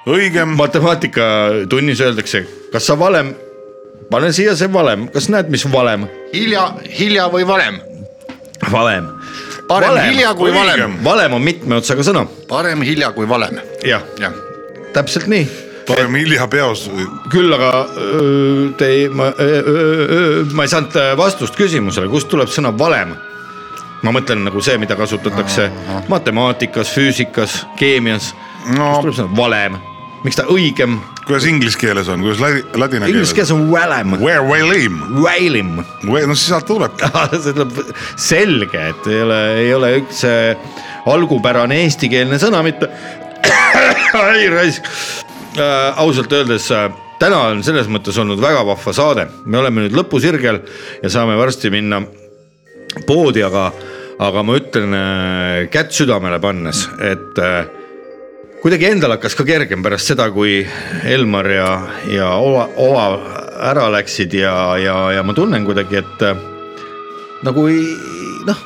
Speaker 2: õigem ,
Speaker 1: matemaatikatunnis öeldakse , kas sa valem , pane siia see valem , kas näed , mis valem ?
Speaker 4: hilja , hilja või varem ,
Speaker 1: valem .
Speaker 4: Parem hilja kui valem. .
Speaker 1: valem on mitme otsaga sõna ,
Speaker 4: parem hilja kui valem ,
Speaker 1: jah ,
Speaker 4: jah
Speaker 1: täpselt nii
Speaker 2: parem hilja peos .
Speaker 1: küll aga öö, te ei , ma , ma ei saanud äh, vastust küsimusele , kust tuleb sõna valem . ma mõtlen nagu see , mida kasutatakse matemaatikas , füüsikas , keemias no. . kust tuleb sõna valem , miks ta õigem ,
Speaker 2: kuidas inglise keeles on , kuidas ladi- ladina keeles ?
Speaker 1: inglise keeles on valem ,
Speaker 2: Where will aim ?
Speaker 1: välim .
Speaker 2: no siis sealt tulebki .
Speaker 1: see tuleb selge , et ei ole , ei ole üldse algupärane eestikeelne sõna mitte . ai raisk , ausalt öeldes äh, täna on selles mõttes olnud väga vahva saade , me oleme nüüd lõpusirgel ja saame varsti minna poodi , aga , aga ma ütlen äh, kätt südamele pannes , et äh, kuidagi endal hakkas ka kergem pärast seda , kui Elmar ja , ja Ola, Ola ära läksid ja , ja , ja ma tunnen kuidagi , et äh, nagu ei- noh ,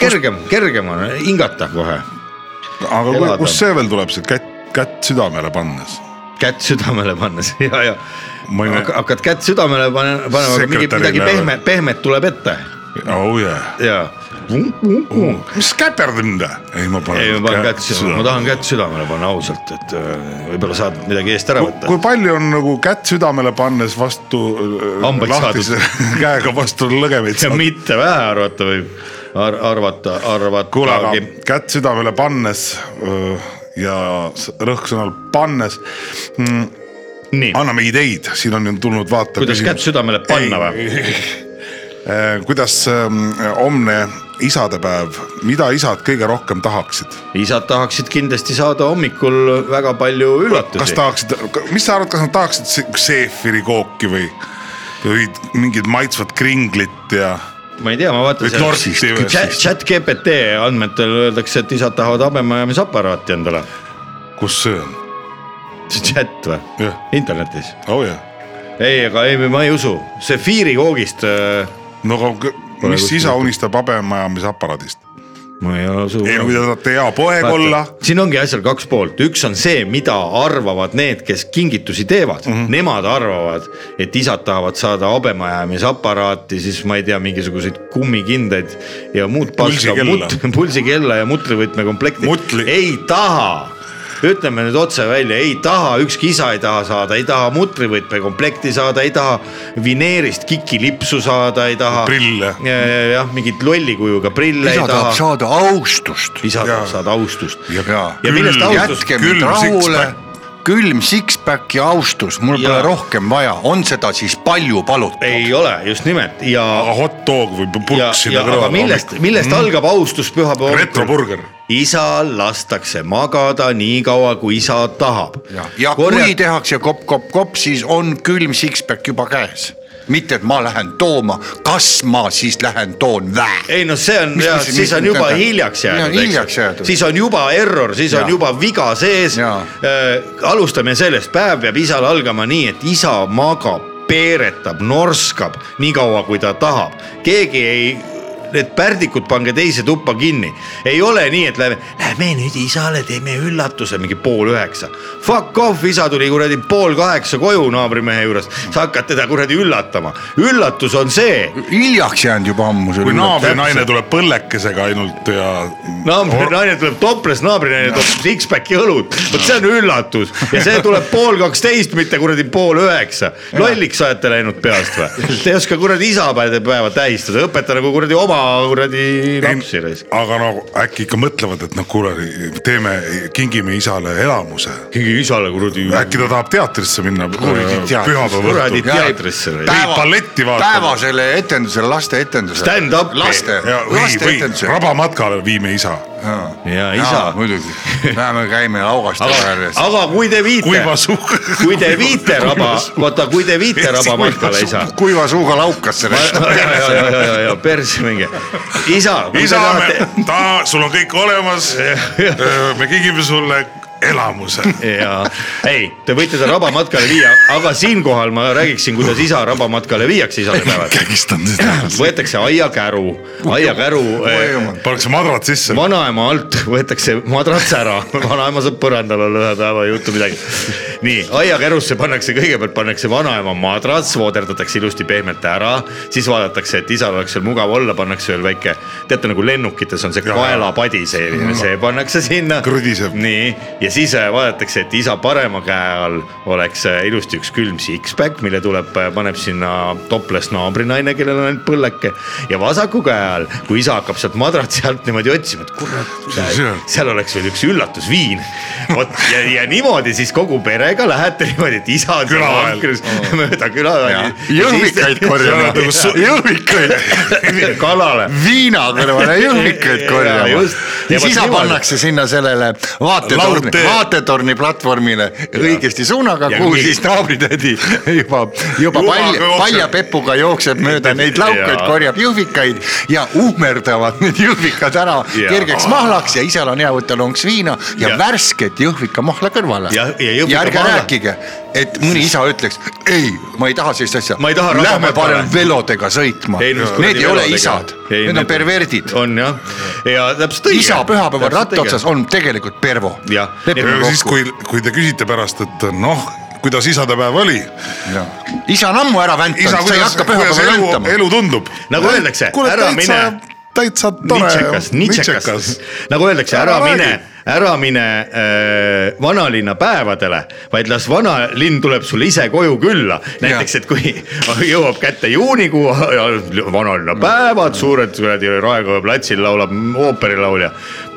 Speaker 1: kergem , kergem on
Speaker 2: eh?
Speaker 1: hingata kohe ,
Speaker 2: aga
Speaker 1: Elada.
Speaker 2: kui- kust see veel tuleb , see kätt , kätt südamele pannes ?
Speaker 1: kätt südamele pannes ja , ja
Speaker 2: Ma ei näe-
Speaker 1: Hakka- hakkad kätt südamele pane- panema , aga mingi midagi
Speaker 2: Sekretärile-
Speaker 1: pehme , pehmet tuleb ette
Speaker 2: oh yeah .
Speaker 1: ja .
Speaker 2: mis käperdamine ? ei , ma
Speaker 1: ei , ma
Speaker 2: panen
Speaker 1: panen kätt südamele , ma tahan kätt südamele panna ausalt , et äh, võib-olla saad midagi eest ära võtta
Speaker 2: kui . palju on nagu kätt südamele pannes vastu
Speaker 1: Hambaid
Speaker 2: lahtise käega vastu lõgemeid
Speaker 1: ja
Speaker 2: saadud ?
Speaker 1: mitte vähe arvata võib Ar , arvata , arvata .
Speaker 2: kuule , aga kätt südamele pannes öö, ja s- rõhksõnal pannes mm, ,
Speaker 1: nii ,
Speaker 2: anname ideid , siin on ju tulnud vaata .
Speaker 1: kuidas kätt südamele panna või ??
Speaker 2: kuidas ähm, homne isadepäev , mida isad kõige rohkem tahaksid ?
Speaker 1: isad tahaksid kindlasti saada hommikul väga palju üllatusi .
Speaker 2: kas tahaksid , mis sa arvad , kas nad tahaksid se- seefiri kooki või , või mingit maitsvat kringlit ja
Speaker 1: ma ei tea , ma vaatan
Speaker 2: Või torsist või-
Speaker 1: chat , chat GPT andmetel öeldakse , et isad tahavad habemajamisaparaati endale .
Speaker 2: kus see on ?
Speaker 1: see chat või ?
Speaker 2: jah ,
Speaker 1: internetis .
Speaker 2: oh jah .
Speaker 1: ei , aga ei , ma ei usu , see äh, Fiirikoogist ,
Speaker 2: no aga kõ- mis
Speaker 1: kuskilt
Speaker 2: isa
Speaker 1: võtta.
Speaker 2: unistab habemajamisaparaadist ?
Speaker 1: ma ei usu .
Speaker 2: ei no kui te tahate hea poeg olla ,
Speaker 1: siin ongi asjal kaks poolt , üks on see , mida arvavad need , kes kingitusi teevad
Speaker 4: Mhm.
Speaker 1: mm , -hmm. nemad arvavad , et isad tahavad saada habemajäämisaparaati , siis ma ei tea , mingisuguseid kummikindaid ja muud paska ,
Speaker 2: Pulsikella.
Speaker 1: pulsikella ja mutrivõtmekomplekti
Speaker 2: Mutli- .
Speaker 1: ei taha , ütleme nüüd otse välja , ei taha , ükski isa ei taha saada , ei taha mutrivõtmekomplekti saada , ei taha vineerist kikilipsu saada , ei taha .
Speaker 2: Prille. .
Speaker 1: jah , mingit lolli kujuga prille
Speaker 4: isa
Speaker 1: ei
Speaker 4: tahab
Speaker 1: taha .
Speaker 4: saada austust .
Speaker 1: isa tahab saada austust .
Speaker 4: ja
Speaker 1: Ja millest
Speaker 4: külm
Speaker 1: austus?
Speaker 4: jätke
Speaker 2: Külm
Speaker 4: mind rahule
Speaker 2: six-pack. ,
Speaker 4: külm six-pack ja austus , mul
Speaker 1: Jaa.
Speaker 4: pole rohkem vaja , on seda siis palju palutud .
Speaker 1: ei ole , just nimelt ja .
Speaker 2: hot dog või
Speaker 1: ja
Speaker 2: purk , sinna
Speaker 1: ja aga millest , millest mm. algab austus pühapäeva hommikul ?
Speaker 2: retroburger ,
Speaker 1: isal lastakse magada nii kaua , kui isa tahab .
Speaker 4: ja Korjad... kui tehakse kopp-kopp-kopp , siis on külm six-pack juba käes . mitte , et ma lähen tooma , kas ma siis lähen toon vä ?
Speaker 1: ei noh , see on
Speaker 4: Mis- , mis-
Speaker 1: siis
Speaker 4: mis-
Speaker 1: on juba
Speaker 4: mida-
Speaker 1: hiljaks
Speaker 4: Ja,
Speaker 1: jäänud ,
Speaker 4: hiljaks jäädud.
Speaker 1: siis on juba error , siis on
Speaker 4: Ja.
Speaker 1: juba viga sees .
Speaker 4: Ja.
Speaker 1: alustame sellest , päev peab isal algama nii , et isa magab , peeretab , norskab nii kaua , kui ta tahab , keegi ei . Need pärdikud pange teise tuppa kinni , ei ole nii , et lähme , lähme nüüd isale teeme üllatuse mingi pool üheksa . Fuck off , isa tuli kuradi pool kaheksa koju naabrimehe juurest , sa hakkad teda kuradi üllatama , üllatus on see
Speaker 4: hiljaks jäänud juba ammu see
Speaker 2: kui
Speaker 4: üllatus.
Speaker 2: naabrinaine tuleb põllekesega ainult ja . Oh.
Speaker 1: naabrinaine tuleb toples , naabrinaine toob six-pack'i õlut , vot see on üllatus ja see tuleb pool kaksteist , mitte kuradi pool üheksa . lolliks olete läinud peast või ? Te ei oska kuradi isapäeva tähistada , õpeta nagu kuradi oma kuradi lapsi raisk .
Speaker 2: aga no äkki ikka mõtlevad , et noh , kuule , teeme , kingime isale elamuse .
Speaker 1: mingi isale kuradi
Speaker 2: äkki ta tahab teatrisse minna äh,
Speaker 4: teatris.
Speaker 2: pühapäeva
Speaker 1: kuradi
Speaker 2: õhtul .
Speaker 1: teatrisse raisk .
Speaker 4: Päeva-
Speaker 2: balletti vaatama.
Speaker 4: päevasele etendusele , laste etendusele .
Speaker 1: Stand-up'i.
Speaker 4: laste ,
Speaker 2: ja , või ,
Speaker 4: laste
Speaker 2: või
Speaker 4: etendusele .
Speaker 2: rabamatkale viime isa .
Speaker 1: ja isa ,
Speaker 4: muidugi , läheme käime Augaste
Speaker 1: aga
Speaker 4: järves ,
Speaker 1: aga kui te viite ,
Speaker 2: kuiva suuga .
Speaker 1: kui te viite raba , vaata , kui te viite raba matkale isa
Speaker 4: kuiva suuga laukasse .
Speaker 1: ja , ja , ja , ja , ja , ja persse minge , isa .
Speaker 2: isa , me , ta , sul on kõik olemas . me kingime sulle elamuse .
Speaker 1: ja ei , te võite ta rabamatkale viia , aga siinkohal ma räägiksin , kuidas isa rabamatkale viiakse isale päeval .
Speaker 2: kägistan seda .
Speaker 1: võetakse aiakäru , aiakäru eh,
Speaker 2: pannakse madrad sisse .
Speaker 1: vanaema alt võetakse madrats ära , vanaema saab põrandal olla ühe päeva , ei juhtu midagi . nii , aiakärusse pannakse , kõigepealt pannakse vanaema madrats , vooderdatakse ilusti pehmelt ära , siis vaadatakse , et isal oleks seal mugav olla , pannakse veel väike , teate nagu lennukites on see kaelapadi selline , see pannakse sinna .
Speaker 2: Krõdiseb.
Speaker 1: nii , ja siis äh, vaadatakse , et isa parema käe all oleks äh, ilusti üks külm six-pack , mille tuleb , paneb sinna toples naabrinaine , kellel on ainult põlleke ja vasaku käe all , kui isa hakkab sealt madratsi alt niimoodi otsima , et kurat , seal oleks veel üks üllatusviin . vot ja , ja niimoodi siis kogu perega lähete niimoodi , et isa on seal
Speaker 2: Külaväel.
Speaker 1: vankris mööda külaväel .
Speaker 4: jõhvikaid korjama , jõhvikaid ,
Speaker 1: kalale .
Speaker 4: viina kõrvale jõhvikaid
Speaker 1: Ja,
Speaker 4: korjama . ja
Speaker 1: just. Ja
Speaker 4: siis
Speaker 1: vot
Speaker 4: isa
Speaker 1: niimoodi.
Speaker 4: pannakse sinna sellele vaatetorni ,
Speaker 2: Laudtee.
Speaker 4: vaatetorni platvormile õigesti suunaga ,
Speaker 1: Ja
Speaker 4: kuhu
Speaker 1: nii.
Speaker 4: siis naabritädi juba , juba palja ,
Speaker 2: jookseb.
Speaker 4: palja pepuga jookseb mööda neid laukaid
Speaker 1: Ja. ,
Speaker 4: korjab jõhvikaid ja uhmerdavad need jõhvikad ära
Speaker 1: Ja.
Speaker 4: kergeks mahlaks ja isal on hea võtta lonks viina ja
Speaker 1: Ja.
Speaker 4: värsket jõhvikamahla kõrvale .
Speaker 1: Ja- ja jõhvikamahla-
Speaker 4: ja ärge rääkige , et mõni isa ütleks , ei , ma ei taha sellist asja ,
Speaker 1: Ma ei taha
Speaker 4: lähme
Speaker 1: rahvamatale.
Speaker 4: parem velodega sõitma .
Speaker 1: Ei, no mis kuradi
Speaker 4: Need ei ole
Speaker 1: velodega.
Speaker 4: isad ,
Speaker 1: Ei,
Speaker 4: need on
Speaker 1: need-
Speaker 4: perverdid .
Speaker 1: on jah , ja täpselt õige .
Speaker 4: isa pühapäeval ratta otsas . on tegelikult pervo .
Speaker 1: Jah.
Speaker 2: ja siis , kui , kui te küsite pärast , et noh , kuidas isadepäev oli .
Speaker 4: isa on ammu ära väntanud , sa ei hakka pühapäeval väntama .
Speaker 2: elu tundub .
Speaker 1: Nagu öeldakse, ära mine. .
Speaker 2: täitsa tore
Speaker 1: nitsekas ,. nitsekas , nagu öeldakse ,
Speaker 2: Ära
Speaker 1: ära
Speaker 2: räägi.
Speaker 1: mine , ära mine äh, vanalinna päevadele , vaid las vanalinn tuleb sulle ise koju külla . näiteks , et kui jõuab kätte juunikuu ja vanalinna päevad , suured kuradi Raekoja platsil laulab ooperilaulja .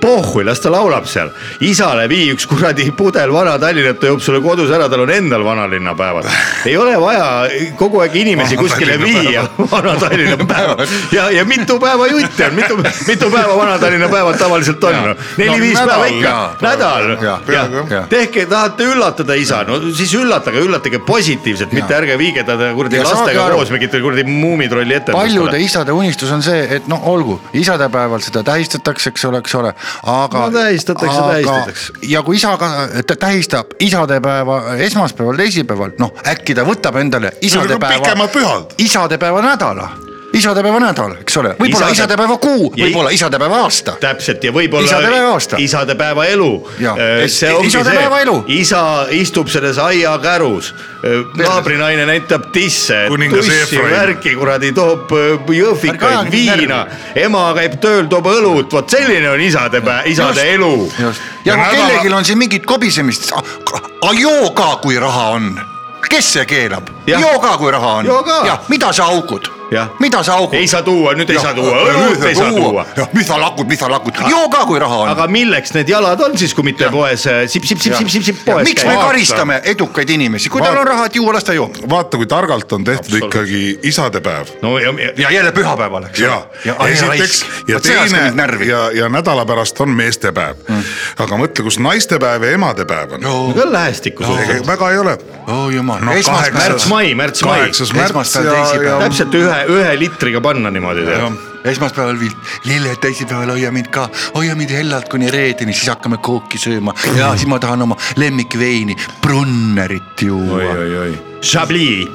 Speaker 1: pohhui , las ta laulab seal , isale vii üks kuradi pudel vana Tallinnat , ta joob sulle kodus ära , tal on endal vanalinna päevad . ei ole vaja kogu aeg inimesi kuskile viia , vana Tallinna päevad ja , ja mitu päeva jutti on , mitu , mitu päeva Vana-Tallinna päevad tavaliselt on no, , neli-viis
Speaker 4: No,
Speaker 1: päeva
Speaker 4: nädal, jaa,
Speaker 1: ikka , nädal
Speaker 4: jaa, . peaaegu, jah.
Speaker 1: tehke , tahate üllatada isa , no siis üllatage , üllatage positiivselt , mitte ärge viige teda kuradi
Speaker 4: Ja saage
Speaker 1: lastega
Speaker 4: aru-
Speaker 1: koos mingite kuradi muumitrolli
Speaker 4: paljude
Speaker 1: etendustele .
Speaker 4: isade unistus on see , et noh , olgu , isadepäeval seda tähistatakse , eks ole , eks ole , aga
Speaker 1: No tähistatakse, tähistatakse. .
Speaker 4: ja kui isa ka ta tähistab isadepäeva esmaspäeval , teisipäeval , noh äkki ta võtab endale
Speaker 2: on
Speaker 4: isadepäeva
Speaker 2: pikemad pühad. ,
Speaker 4: isadepäeva nädala . isadepäeva nädal , eks ole , võib-olla
Speaker 1: Isade-
Speaker 4: isadepäeva kuu ,
Speaker 1: Ja-
Speaker 4: võib-olla isadepäeva aasta .
Speaker 1: täpselt ja võib-olla .
Speaker 4: Isadepäeva aasta.
Speaker 1: isadepäeva elu Äh,
Speaker 4: Jaa. .
Speaker 1: see ongi
Speaker 4: Isadepäeva
Speaker 1: see
Speaker 4: elu. ,
Speaker 1: isa istub selles aiakärus , naabrinaine näitab tisse ,
Speaker 2: Kuningas
Speaker 1: tussi ,
Speaker 2: Efraim.
Speaker 1: värki kuradi , toob öö,
Speaker 4: Ärge
Speaker 1: jõhvikaid
Speaker 4: ajage mind
Speaker 1: viina , ema käib tööl , toob õlut , vot selline on isadepäev , isade elu .
Speaker 4: ja, ja kui kellelgi on siin mingit kobisemist , jooga , kui raha on , kes see keelab ,
Speaker 1: Jah.
Speaker 4: jooga , kui raha on
Speaker 1: Joo ka. ,
Speaker 4: mida sa augud
Speaker 1: Jah. ,
Speaker 4: mida sa augud .
Speaker 1: ei saa tuua , nüüd ei saa tuua , õlut ei saa tuua .
Speaker 4: mis sa lakud , mis sa lakud , jooga , kui raha on .
Speaker 1: aga milleks need jalad on siis , kui mitte
Speaker 4: Jah.
Speaker 1: poes äh, sip-sip-sip-sip-sip poes
Speaker 4: miks me
Speaker 1: käia?
Speaker 4: karistame edukaid inimesi , kui tal on raha , et juua , las ta joob .
Speaker 2: vaata , kui targalt on tehtud ikkagi isadepäev
Speaker 1: no ja, ja
Speaker 4: ja jälle pühapäeval , eks
Speaker 2: ja ,
Speaker 4: ja ah,
Speaker 2: ja ,
Speaker 4: esiteks
Speaker 2: esiteks ja teine
Speaker 4: ja
Speaker 2: ja , ja nädala pärast on meestepäev mm. . aga mõtle , kus naistepäev ja emadepäev on no. .
Speaker 4: Nagu-
Speaker 1: küll lähestikku suhteliselt .
Speaker 2: väga ei ole .
Speaker 4: oh jumal
Speaker 2: No
Speaker 4: no, ,
Speaker 2: kaheksa-
Speaker 4: esmaspäev ,
Speaker 1: märts-mai , märts-mai .
Speaker 2: kaheksas märts
Speaker 4: Esmaspäev,
Speaker 2: ja ,
Speaker 4: teisipäev.
Speaker 2: ja
Speaker 1: täpselt ühe , ühe liitriga panna niimoodi tead .
Speaker 4: esmaspäeval vilt , lilled teisipäeval hoia mind ka , hoia mind hellalt kuni reedeni , siis hakkame kooki sööma ja siis ma tahan oma lemmikveini , Brunnerit juua .
Speaker 1: oi-oi-oi . Chablis ,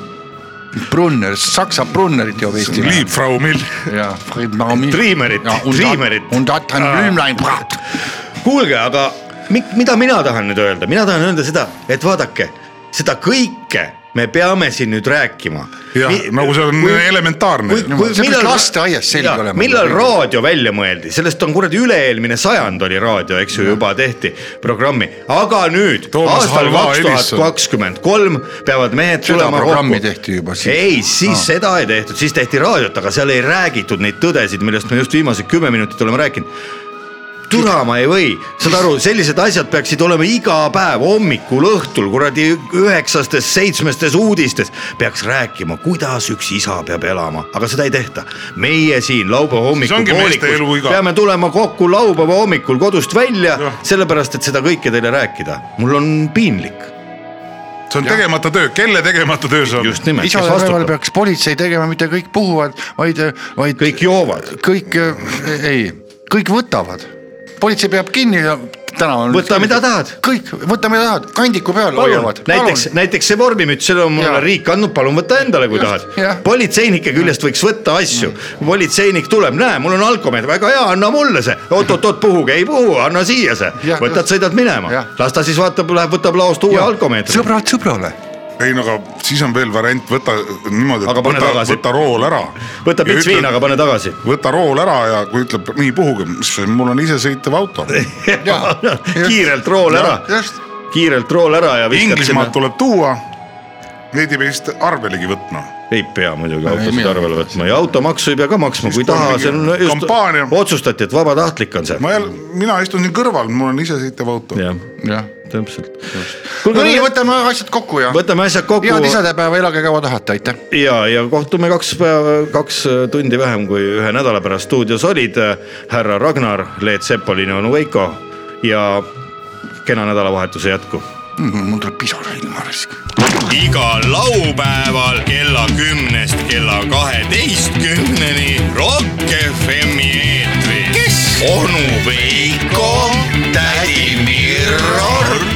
Speaker 4: Brunner , Saksa Brunnerit joob Eesti .
Speaker 2: Liebfrau Mill ,
Speaker 4: ja .
Speaker 1: Dreamerit, Dreamerit.
Speaker 4: Und hat ein Blümlein brat .
Speaker 1: kuulge , aga mi- mida mina tahan nüüd öelda , mina tahan öelda seda , et vaadake seda kõike me peame siin nüüd rääkima .
Speaker 2: jah , nagu see on kui, elementaarne .
Speaker 4: see peaks lasteaias selge olema.
Speaker 1: millal raadio välja mõeldi , sellest on kuradi üle-eelmine sajand oli raadio , eks ju , juba tehti programmi , aga nüüd
Speaker 2: Toomas
Speaker 1: aastal
Speaker 2: Halva
Speaker 1: kaks tuhat
Speaker 2: Elisson.
Speaker 1: kakskümmend kolm peavad mehed
Speaker 4: Seda
Speaker 1: tulema
Speaker 4: programmi tehti juba siis.
Speaker 1: ei , siis ah. seda ei tehtud , siis tehti raadiot , aga seal ei räägitud neid tõdesid , millest me just viimased kümme minutit oleme rääkinud türa ma ei või , saad aru , sellised asjad peaksid olema iga päev hommikul , õhtul kuradi üheksastes , seitsmestes uudistes peaks rääkima , kuidas üks isa peab elama , aga seda ei tehta . meie siin laupäeva hommikul
Speaker 2: ongi meeste
Speaker 1: poolikus
Speaker 2: eluiga.
Speaker 1: peame tulema kokku laupäeva hommikul kodust välja , sellepärast et seda kõike teile rääkida . mul on piinlik ,
Speaker 2: see on tegemata töö , kelle tegemata töö see on ?
Speaker 1: just nimelt , kes
Speaker 4: isadepäeval
Speaker 1: vastutab ,
Speaker 4: peaks politsei tegema , mitte kõik puhuvad , vaid , vaid .
Speaker 1: kõik joovad .
Speaker 4: kõik , ei , kõik võtavad , politsei peab kinni ja tänaval .
Speaker 1: Võta, mida tahad. .
Speaker 4: kõik , võta mida tahad , kandiku peal hoiavad .
Speaker 1: näiteks , näiteks see vormimüts , selle on mulle
Speaker 4: Jaa.
Speaker 1: riik andnud , palun võta endale , kui
Speaker 4: Just, Mm. jah.
Speaker 1: tahad . politseinike küljest võiks võtta asju , politseinik tuleb , näe , mul on alkomeeter , väga hea , anna mulle see . oot-oot-oot , puhuge , ei puhu , anna siia see
Speaker 4: Jah, .
Speaker 1: võtad ,
Speaker 4: just.
Speaker 1: sõidad minema
Speaker 4: Jah. ,
Speaker 1: las ta siis vaatab , läheb , võtab laost uue alkomeetri .
Speaker 4: sõbrad sõbrale .
Speaker 2: ei no aga siis on veel variant , võta niimoodi ,
Speaker 1: Aga
Speaker 2: et
Speaker 1: pane
Speaker 2: võta ,
Speaker 1: tagasi.
Speaker 2: võta rool ära .
Speaker 1: võta pits viina , aga pane tagasi .
Speaker 2: võta rool ära ja kui ütleb nii , puhuge , mis , mul on isesõitev auto .
Speaker 1: kiirelt rool ära ,
Speaker 4: just ,
Speaker 1: kiirelt rool ära ja viskad
Speaker 2: Inglismaalt
Speaker 1: sinna .
Speaker 2: tuleb tuua , neid ei pea vist arvelegi võtma
Speaker 1: ei pea muidugi autosid
Speaker 4: mina-
Speaker 1: arvele võtma ja automaksu ei pea ka maksma , kui
Speaker 2: Siis tuleb
Speaker 1: taha ,
Speaker 2: mingi
Speaker 1: see on just
Speaker 2: kampaania.
Speaker 1: otsustati , et vabatahtlik on see .
Speaker 2: ma jälle , mina istun siin kõrval , mul on isesõitev auto .
Speaker 1: jah ,
Speaker 4: jah .
Speaker 1: täpselt .
Speaker 4: no nii , võtame asjad kokku ja .
Speaker 1: võtame asjad kokku
Speaker 4: head isadepäeva , elage kaua tahate , aitäh .
Speaker 1: ja , ja kohtume kaks päeva , kaks äh, tundi vähem kui ühe nädala pärast stuudios olid äh, härra Ragnar , Leet Sepolin ja onu Veiko ja kena nädalavahetuse jätku
Speaker 4: Mhm, mul tuleb pisar ilma raske .
Speaker 5: igal laupäeval kella kümnest kella kaheteistkümneni Rock FM-i eetris . kes ? onu Veiko , tädi Mirro ,